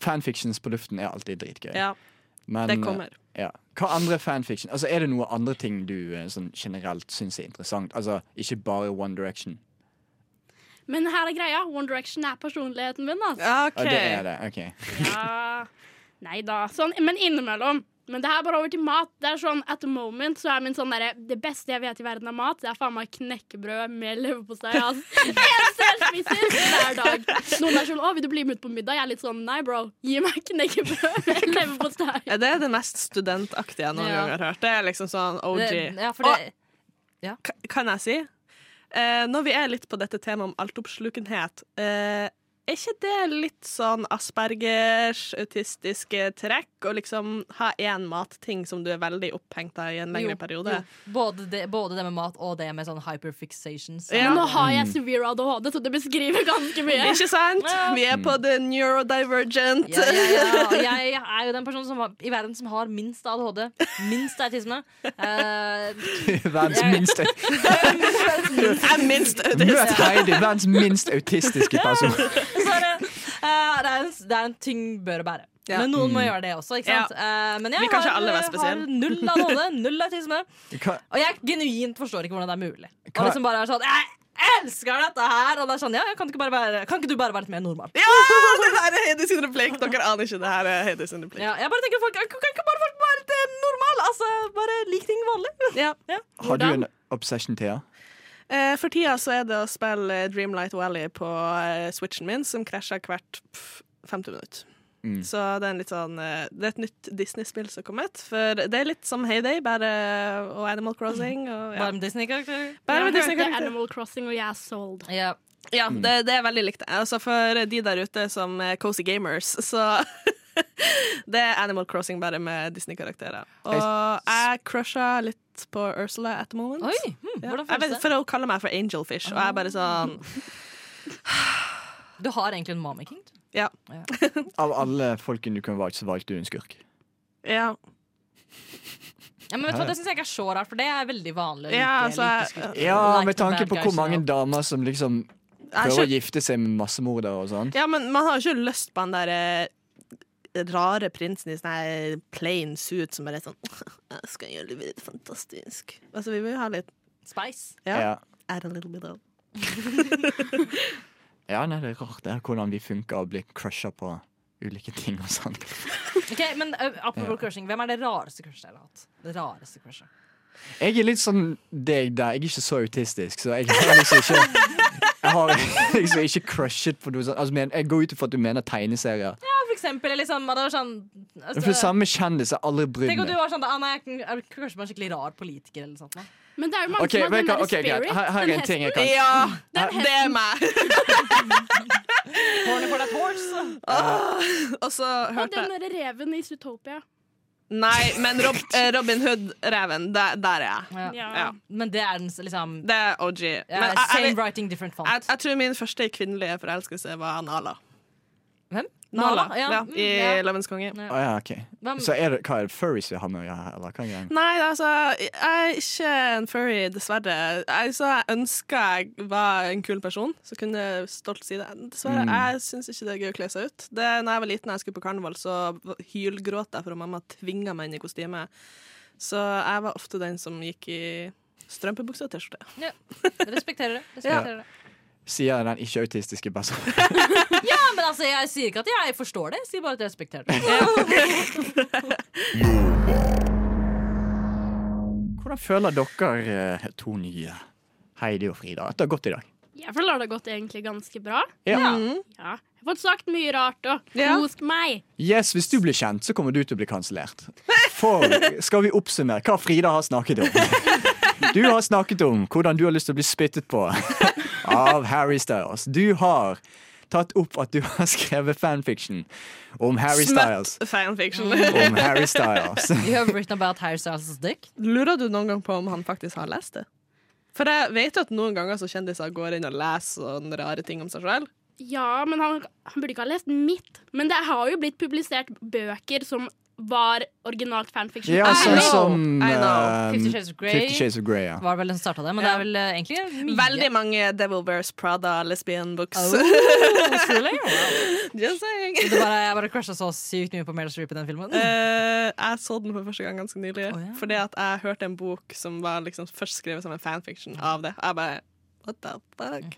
[SPEAKER 3] Fanfictions på luften er alltid dritgøy.
[SPEAKER 5] ja.
[SPEAKER 3] Men,
[SPEAKER 5] det kommer.
[SPEAKER 3] eh, Ja. Hva andre fanfiction? Altså, er det noe andre ting du eh, sånn, generelt syns er interessant? Altså, ikke bare One Direction.
[SPEAKER 6] Men her er greia. One Direction er personligheten min, altså.
[SPEAKER 3] Ja, det er det. ok (laughs)
[SPEAKER 6] Ja. Nei da. Sånn, men innimellom. Men det her bare over til mat. Det er sånn, At the moment så er min sånn derre Det beste jeg vet i verden er mat. Det er faen meg knekkebrød med leverpostei. ass. Det eneste jeg spiser hver dag. Noen er sånn 'Å, vil du bli med ut på middag?' Jeg er litt sånn 'Nei, bro. Gi meg knekkebrød med leverpostei'.
[SPEAKER 5] Ja, det er det mest studentaktige jeg noen
[SPEAKER 6] Ja.
[SPEAKER 5] gang har hørt. Det er liksom sånn OG.
[SPEAKER 14] Det- ja, for det-
[SPEAKER 5] Og, ka- Kan jeg si? Eh, når vi er litt på dette temaet om altoppslukenhet eh, er ikke det litt sånn Aspergers autistiske trekk? Å liksom ha én matting som du er veldig opphengt av i en lengre
[SPEAKER 4] Jo, jo.
[SPEAKER 5] periode?
[SPEAKER 4] Både, det, både det med mat og det med sånn hyperfixations.
[SPEAKER 6] Men nå har jeg severe ADHD, så det beskriver ganske mye.
[SPEAKER 5] Ikke sant?
[SPEAKER 4] Ja.
[SPEAKER 5] Vi er på the neurodivergent.
[SPEAKER 4] Ja, ja, ja. Og Jeg er jo den personen som har, i verden som har minst ADHD. Minst autisme. Eh, (laughs)
[SPEAKER 3] Verdens
[SPEAKER 5] (laughs)
[SPEAKER 3] minst
[SPEAKER 5] Jeg er minst
[SPEAKER 6] (laughs)
[SPEAKER 3] Møt
[SPEAKER 5] autist.
[SPEAKER 3] Heidi, verdens minst autistiske person.
[SPEAKER 4] så er det, eh, det, er en, det er en ting bør og bære.
[SPEAKER 5] Ja.
[SPEAKER 4] Men noen må
[SPEAKER 3] Mm.
[SPEAKER 4] gjøre det også. Ikke sant? Eh, men jeg
[SPEAKER 5] Vi kan ikke
[SPEAKER 4] har,
[SPEAKER 5] alle være
[SPEAKER 4] har
[SPEAKER 5] spesielle.
[SPEAKER 4] null ADHD, null autisme.
[SPEAKER 3] Hva,
[SPEAKER 4] Og jeg genuint forstår ikke hvordan det er mulig. Og
[SPEAKER 3] Hva-
[SPEAKER 4] liksom bare er sånn Jeg elsker dette her! Og det er sånn, ja, ja, kan, ikke bare være, kan ikke du bare være litt mer normal?
[SPEAKER 5] Ja, det der er Heidi sin replikk. Dere aner ikke det her er Heidi sin replikk.
[SPEAKER 4] Ja, jeg bare tenker folk, Kan ikke bare folk være litt eh, normal? Altså, Bare lik ting vanlig.
[SPEAKER 5] Ja.
[SPEAKER 4] (laughs) Ja.
[SPEAKER 3] har du en obsession, Thea?
[SPEAKER 5] Eh, for tida så er det å spille eh, Dreamlight Valley på eh, switchen min, som krasjer hvert pff, 50 minutter.
[SPEAKER 3] Mm.
[SPEAKER 5] Så det er, en litt sånn, eh, det er et nytt Disney-spill som er kommet. For det er litt som Heyday bare, og Animal Crossing. Og, ja.
[SPEAKER 4] Bare med Disney-karakterer.
[SPEAKER 5] Bare med
[SPEAKER 6] Jeg hørte
[SPEAKER 5] Disney-karakter.
[SPEAKER 6] Animal Crossing, og jeg er sold.
[SPEAKER 4] Ja.
[SPEAKER 5] Ja, det, det er veldig likt. Altså for de der ute som er cozy gamers, så (laughs) Det er Animal Crossing bare med Disney-karakterer. Og jeg crusha litt på Ursula at the moment.
[SPEAKER 4] Oi, hm,
[SPEAKER 5] Ja.
[SPEAKER 4] hvordan
[SPEAKER 5] Jeg vet,
[SPEAKER 4] føles det? Ah.
[SPEAKER 5] for hun kaller meg for Angelfish, og jeg er bare sånn
[SPEAKER 4] Du har egentlig en mommy king. du.
[SPEAKER 5] Ja.
[SPEAKER 3] Av alle folkene du kunne valgt, så valgte du en skurk.
[SPEAKER 5] ja.
[SPEAKER 4] Ja, men vet du hva, Det syns jeg ikke er så rart, for det er veldig vanlig. å like-
[SPEAKER 5] Ja, altså,
[SPEAKER 4] like skuespillere.
[SPEAKER 3] Ja,
[SPEAKER 4] Like
[SPEAKER 3] med
[SPEAKER 4] the
[SPEAKER 3] tanke
[SPEAKER 4] bad
[SPEAKER 3] på hvor
[SPEAKER 4] guys
[SPEAKER 3] mange
[SPEAKER 4] now.
[SPEAKER 3] damer som liksom
[SPEAKER 5] Jeg
[SPEAKER 3] prøver å
[SPEAKER 5] skjøn-
[SPEAKER 3] gifte seg med massemordere og sånn.
[SPEAKER 5] ja, men man har jo ikke lyst på den der eh, rare prinsen i sånn her plain suit som bare er sånn (laughs) Jeg skal gjøre livet ditt fantastisk. Altså, vi vil jo ha litt
[SPEAKER 4] Spice.
[SPEAKER 5] Ja.
[SPEAKER 3] Ja.
[SPEAKER 5] Add a little bit of
[SPEAKER 3] ja, nei, det er rart det er hvordan vi funker og blir crusha på ulike ting og sånn.
[SPEAKER 4] Ok, men ø, Apropos crushing, hvem er det rareste crushet dere har hatt? Det rareste crushet
[SPEAKER 3] Jeg er litt sånn deg der. Jeg er ikke så autistisk, så jeg har liksom ikke Jeg har liksom ikke crushet på noe sånt. Altså, men, jeg går ut ifra at du mener tegneserier.
[SPEAKER 4] Ja, for eksempel. Eller liksom, det var sånn, altså,
[SPEAKER 3] For samme kjendis har aldri brydd
[SPEAKER 4] Tenk om
[SPEAKER 3] meg.
[SPEAKER 4] du var sånn ah, nei, jeg, jeg, Kanskje man er skikkelig rar politiker eller sånt. da.
[SPEAKER 6] Men det er jo mange
[SPEAKER 3] OK,
[SPEAKER 6] som har
[SPEAKER 3] vet
[SPEAKER 6] den
[SPEAKER 3] du hva?
[SPEAKER 6] der
[SPEAKER 3] Ok, greit.
[SPEAKER 6] spirit.
[SPEAKER 3] Her, her er
[SPEAKER 6] den
[SPEAKER 3] en ting jeg kan
[SPEAKER 5] Ja! Det er meg. (laughs)
[SPEAKER 4] Horny for that horse.
[SPEAKER 5] Og så
[SPEAKER 6] hesten. Og
[SPEAKER 5] hørte
[SPEAKER 6] den
[SPEAKER 5] jeg
[SPEAKER 6] derre reven i Zootopia.
[SPEAKER 5] Nei, men Rob, eh, Robin Hood-reven, der, der er jeg.
[SPEAKER 4] Ja.
[SPEAKER 6] Ja.
[SPEAKER 5] Ja.
[SPEAKER 4] Men det er den s- liksom
[SPEAKER 5] Det er OG.
[SPEAKER 4] ja,
[SPEAKER 5] Men jeg, jeg,
[SPEAKER 4] Same
[SPEAKER 5] vet-
[SPEAKER 4] writing, different font.
[SPEAKER 5] jeg, jeg tror min første kvinnelige forelskelse var Nala.
[SPEAKER 4] Hvem?
[SPEAKER 5] Nala,
[SPEAKER 4] Nala, ja.
[SPEAKER 5] ja.
[SPEAKER 4] Mm,
[SPEAKER 5] I
[SPEAKER 4] ja.
[SPEAKER 5] Løvens konge.
[SPEAKER 4] Ja.
[SPEAKER 3] Å ja, OK.
[SPEAKER 4] Hvem-
[SPEAKER 3] Så er det, hva er det furries vi har med å gjøre her, eller hva er greia?
[SPEAKER 5] Nei, altså, jeg er ikke en furry, dessverre. Jeg, så jeg ønska jeg var en kul person, så kunne jeg stolt si det. Dessverre,
[SPEAKER 3] Mm.
[SPEAKER 5] jeg syns ikke det er gøy å kle seg ut. Det, når jeg var liten og jeg skulle på karneval, så hylgråt jeg for at mamma tvinga meg inn i kostyme. Så jeg var ofte den som gikk i strømpebukse og T-skjorte.
[SPEAKER 4] Ja. Respekterer det. Respekterer det.
[SPEAKER 3] Sier den ikke-autistiske personen.
[SPEAKER 4] Ja, men altså, jeg sier ikke at jeg forstår det, jeg sier bare at jeg respekterer det.
[SPEAKER 3] Hvordan føler dere eh, to nye, Heidi og Frida, at det har gått i dag?
[SPEAKER 6] Jeg føler det har gått egentlig ganske bra.
[SPEAKER 3] Ja.
[SPEAKER 6] Ja. Jeg har fått sagt mye rart og
[SPEAKER 5] Ja.
[SPEAKER 6] kost meg.
[SPEAKER 3] Yes, Hvis du blir kjent, så kommer du til å bli kansellert. For skal vi oppsummere hva Frida har snakket om? Du har snakket om hvordan du har lyst til å bli spyttet på av Harry Styles. Du har tatt opp at du har skrevet fanfiction om Harry Styles.
[SPEAKER 5] fanfiction. (laughs)
[SPEAKER 3] Om Harry Styles.
[SPEAKER 4] You have written about Harry Styles' dick.
[SPEAKER 5] Lurer du noen gang på om han faktisk har lest det? For jeg vet jo at noen ganger så kjendiser går inn og leser sånne rare ting om seg selv.
[SPEAKER 6] Ja, men han, han burde ikke ha lest mitt. Men det har jo blitt publisert bøker som var originalt fanfiction.
[SPEAKER 3] Ja,
[SPEAKER 5] I
[SPEAKER 3] sånn
[SPEAKER 5] know,
[SPEAKER 3] som
[SPEAKER 5] I know.
[SPEAKER 3] eh,
[SPEAKER 4] Fifty Shades of Grey.
[SPEAKER 3] Fifty Shades of Grey, ja.
[SPEAKER 4] Var vel den som starta det, men det er vel eh, egentlig mye.
[SPEAKER 5] Veldig mange Devil Wears Prada lesbian books. (laughs)
[SPEAKER 4] Oh, really? Wow.
[SPEAKER 5] Just saying.
[SPEAKER 4] Det bare, jeg bare crusha så sykt mye på Meryl Streep i den filmen. (laughs)
[SPEAKER 5] Eh, jeg så den for første gang ganske
[SPEAKER 4] Å,
[SPEAKER 5] nylig,
[SPEAKER 4] ja.
[SPEAKER 5] fordi at jeg hørte en bok som var liksom først skrevet som en fanfiction av det. Jeg bare What the fuck?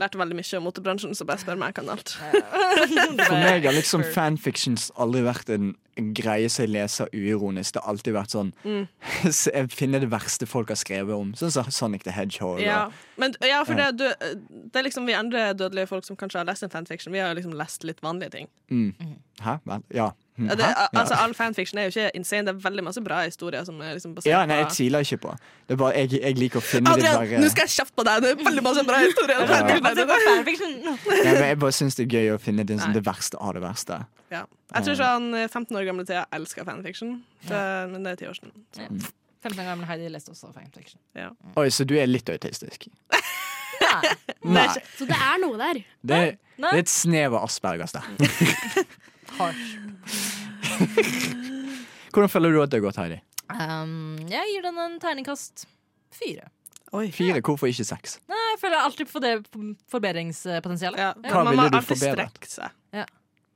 [SPEAKER 5] Lærte veldig mye om motebransjen, så bare spør meg, jeg kan alt.
[SPEAKER 3] For meg har liksom fanfictions aldri vært en greie som jeg leser uironisk. Det har alltid vært sånn
[SPEAKER 5] Mm.
[SPEAKER 3] (laughs) så Jeg finner det verste folk har skrevet om. Sånn som Sonic the Hedgehog. og-
[SPEAKER 5] Ja, men, ja for det, du, det er liksom vi andre dødelige folk som kanskje har lest en fanfiction, vi har jo liksom lest litt vanlige ting.
[SPEAKER 3] Mm. Hæ? Vel, ja.
[SPEAKER 5] Ja, det,
[SPEAKER 3] Hæ?
[SPEAKER 5] altså,
[SPEAKER 3] Ja.
[SPEAKER 5] all fanfiction er jo ikke insane. Det er veldig masse bra historier som er liksom basert
[SPEAKER 3] Ja, nei, jeg
[SPEAKER 5] på
[SPEAKER 3] tviler ikke på. Det er bare, jeg, jeg liker å finne
[SPEAKER 5] Adrian,
[SPEAKER 3] de
[SPEAKER 5] nå
[SPEAKER 3] der
[SPEAKER 5] skal jeg kjefte på deg! Det er veldig masse bra historier.
[SPEAKER 3] Ja.
[SPEAKER 5] Det er veldig bra.
[SPEAKER 3] Nei, men Jeg bare syns det er gøy å finne det, som det verste av det verste.
[SPEAKER 5] Ja. Jeg
[SPEAKER 3] Ah.
[SPEAKER 5] tror sånn eh, 15 år gamle Thea elsker fanfiction, det, men det er 10 år siden.
[SPEAKER 4] Ja. 15 år gamle Heidi leste også fanfiction.
[SPEAKER 5] Ja.
[SPEAKER 3] Oi, så du er litt
[SPEAKER 5] (laughs)
[SPEAKER 3] autistisk?
[SPEAKER 6] Det
[SPEAKER 3] Nei.
[SPEAKER 6] er ikke- Så det er noe der.
[SPEAKER 3] Det, er-
[SPEAKER 6] Nei.
[SPEAKER 3] det er et snev av altså. aspergers der. Hvordan føler du at det har gått, Heidi?
[SPEAKER 4] Um, jeg gir den en terningkast fire.
[SPEAKER 3] Fire, hvorfor ikke seks?
[SPEAKER 4] Nei, jeg føler alltid for det forbedringspotensialet. Ja.
[SPEAKER 3] Hva
[SPEAKER 5] man må
[SPEAKER 3] ville du
[SPEAKER 5] alltid
[SPEAKER 3] forbedret?
[SPEAKER 5] seg.
[SPEAKER 4] Ja.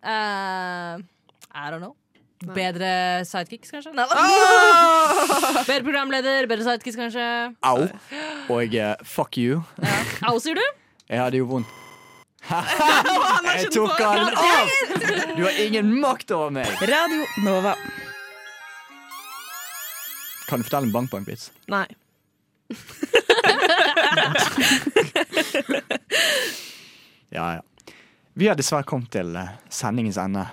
[SPEAKER 4] Eh, I don't know. Bedre sidekicks, kanskje? Nei, da.
[SPEAKER 5] Ah!
[SPEAKER 4] (laughs) bedre programleder, bedre sidekicks, kanskje.
[SPEAKER 3] Au. Og eh, fuck you.
[SPEAKER 4] Au, sier du?
[SPEAKER 3] Jeg hadde jo vondt.
[SPEAKER 4] (laughs) han
[SPEAKER 3] Jeg tok den av! Du har ingen makt over meg!
[SPEAKER 16] Radio Nova.
[SPEAKER 3] Kan du fortelle en bankbankvits?
[SPEAKER 5] Nei.
[SPEAKER 3] Ja, ja. Vi har dessverre kommet til eh, sendingens ende.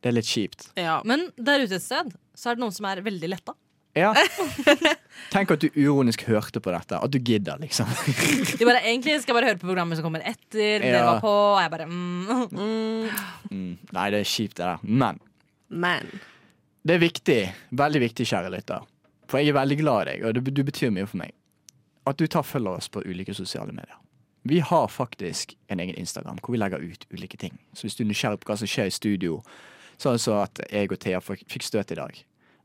[SPEAKER 3] Det er litt kjipt.
[SPEAKER 4] Men der ute et sted så er det noen som er veldig letta. (laughs)
[SPEAKER 3] Ja. Tenk at du uronisk hørte på dette. At du gidder, liksom. (laughs)
[SPEAKER 4] De bare egentlig skal jeg bare høre på programmet som kommer etter. men Dere
[SPEAKER 3] Ja.
[SPEAKER 4] var på, og jeg bare mm, (laughs)
[SPEAKER 3] Mm. Nei, det er kjipt, det der. Men
[SPEAKER 5] Men
[SPEAKER 3] det er viktig, veldig viktig, kjære lytter, for jeg er veldig glad i deg, og det, du betyr mye for meg, at du tar følger oss på ulike sosiale medier. Vi har faktisk en egen Instagram hvor vi legger ut ulike ting. Så hvis du er nysgjerrig på hva som skjer i studio, sånn som at jeg og Thea fikk fikk støt i dag,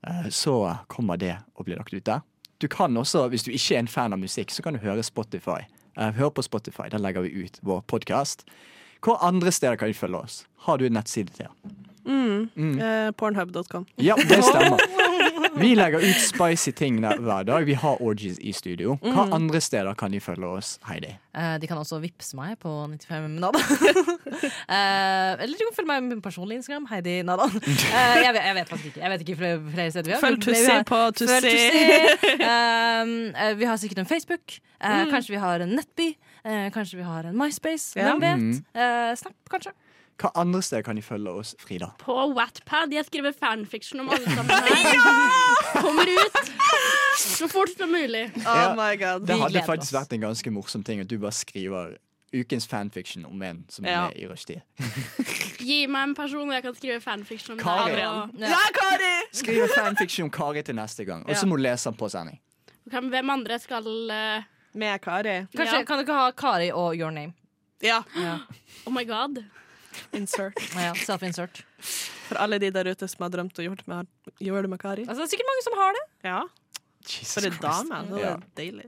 [SPEAKER 3] eh, så kommer det å bli lagt ut der. Du kan også, hvis du ikke er en fan av musikk, så kan du høre Spotify. Eh, Hør på Spotify, der legger vi ut vår podkast. Hvor andre steder kan du følge oss? Har du en nettside, Thea?
[SPEAKER 5] mm.
[SPEAKER 3] Mm.
[SPEAKER 5] eh, Pornhub.com.
[SPEAKER 3] Ja, det stemmer. Vi legger ut spicy ting der hver dag. Vi har orgies i studio. Hva
[SPEAKER 4] Mhm.
[SPEAKER 3] andre steder kan de følge oss, Heidi?
[SPEAKER 4] Eh, De kan også vippse meg på 95 Nada. (laughs) Eh, eller du kan følge meg på min personlige Instagram. Heidi Nada. Eh, jeg, vet, jeg vet faktisk ikke. Jeg vet ikke flere, flere steder vi har.
[SPEAKER 5] Følg
[SPEAKER 4] men flere
[SPEAKER 5] Tussi
[SPEAKER 4] vi har.
[SPEAKER 5] på Tussi.
[SPEAKER 4] Følg
[SPEAKER 5] (laughs)
[SPEAKER 4] (laughs) Tussi. Um, eh, vi har sikkert en Facebook. Eh,
[SPEAKER 5] Mm.
[SPEAKER 4] Kanskje vi har en Nettby. Eh, kanskje vi har en MySpace.
[SPEAKER 3] Ja.
[SPEAKER 4] Hvem vet?
[SPEAKER 3] Mhm.
[SPEAKER 4] Eh, Snap, kanskje.
[SPEAKER 3] Hva andre steder kan de følge oss, Frida?
[SPEAKER 6] På Wattpad. Jeg skriver fanfiction om alle sammen (laughs) her. Kommer ut så fort som mulig.
[SPEAKER 5] Oh
[SPEAKER 3] Ja, Det hadde faktisk vært en ganske morsom ting at du bare skriver ukens fanfiction om en som
[SPEAKER 6] Ja.
[SPEAKER 3] er med i rushtid.
[SPEAKER 6] Gi meg en person, og jeg kan skrive fanfiction om
[SPEAKER 3] Kari.
[SPEAKER 6] deg.
[SPEAKER 3] Ja. Ja, Skriv en fanfiction om Kari til neste gang, og så
[SPEAKER 6] Ja.
[SPEAKER 3] må du lese den på sending.
[SPEAKER 6] Kan- Hvem andre skal eh,
[SPEAKER 5] Med Kari.
[SPEAKER 4] Kanskje, Kan du ikke ha Kari og Your Name?
[SPEAKER 5] Ja.
[SPEAKER 6] Oh my god.
[SPEAKER 5] Insert.
[SPEAKER 4] Ja, Self-insert.
[SPEAKER 5] For alle de der ute som har drømt og gjort med, gjør det med Kari.
[SPEAKER 4] Altså, det er sikkert mange som har det.
[SPEAKER 5] Ja.
[SPEAKER 3] Jesus
[SPEAKER 5] For en
[SPEAKER 4] Christ.
[SPEAKER 5] dame. altså, Det
[SPEAKER 4] Ja.
[SPEAKER 5] er
[SPEAKER 3] (laughs)
[SPEAKER 5] deilig.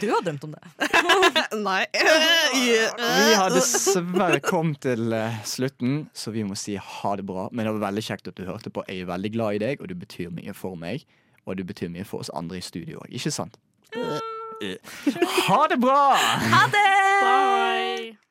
[SPEAKER 4] Du har drømt om det.
[SPEAKER 5] Nei. (laughs)
[SPEAKER 3] Vi
[SPEAKER 5] Eh,
[SPEAKER 3] har dessverre kommet til eh, slutten, så vi må si ha det bra. Men det var veldig kjekt at du hørte på. Jeg er veldig glad i deg, og du betyr mye for meg. Og du betyr mye for oss andre i studio òg, ikke sant? Eh. Ha det bra!
[SPEAKER 6] Bye.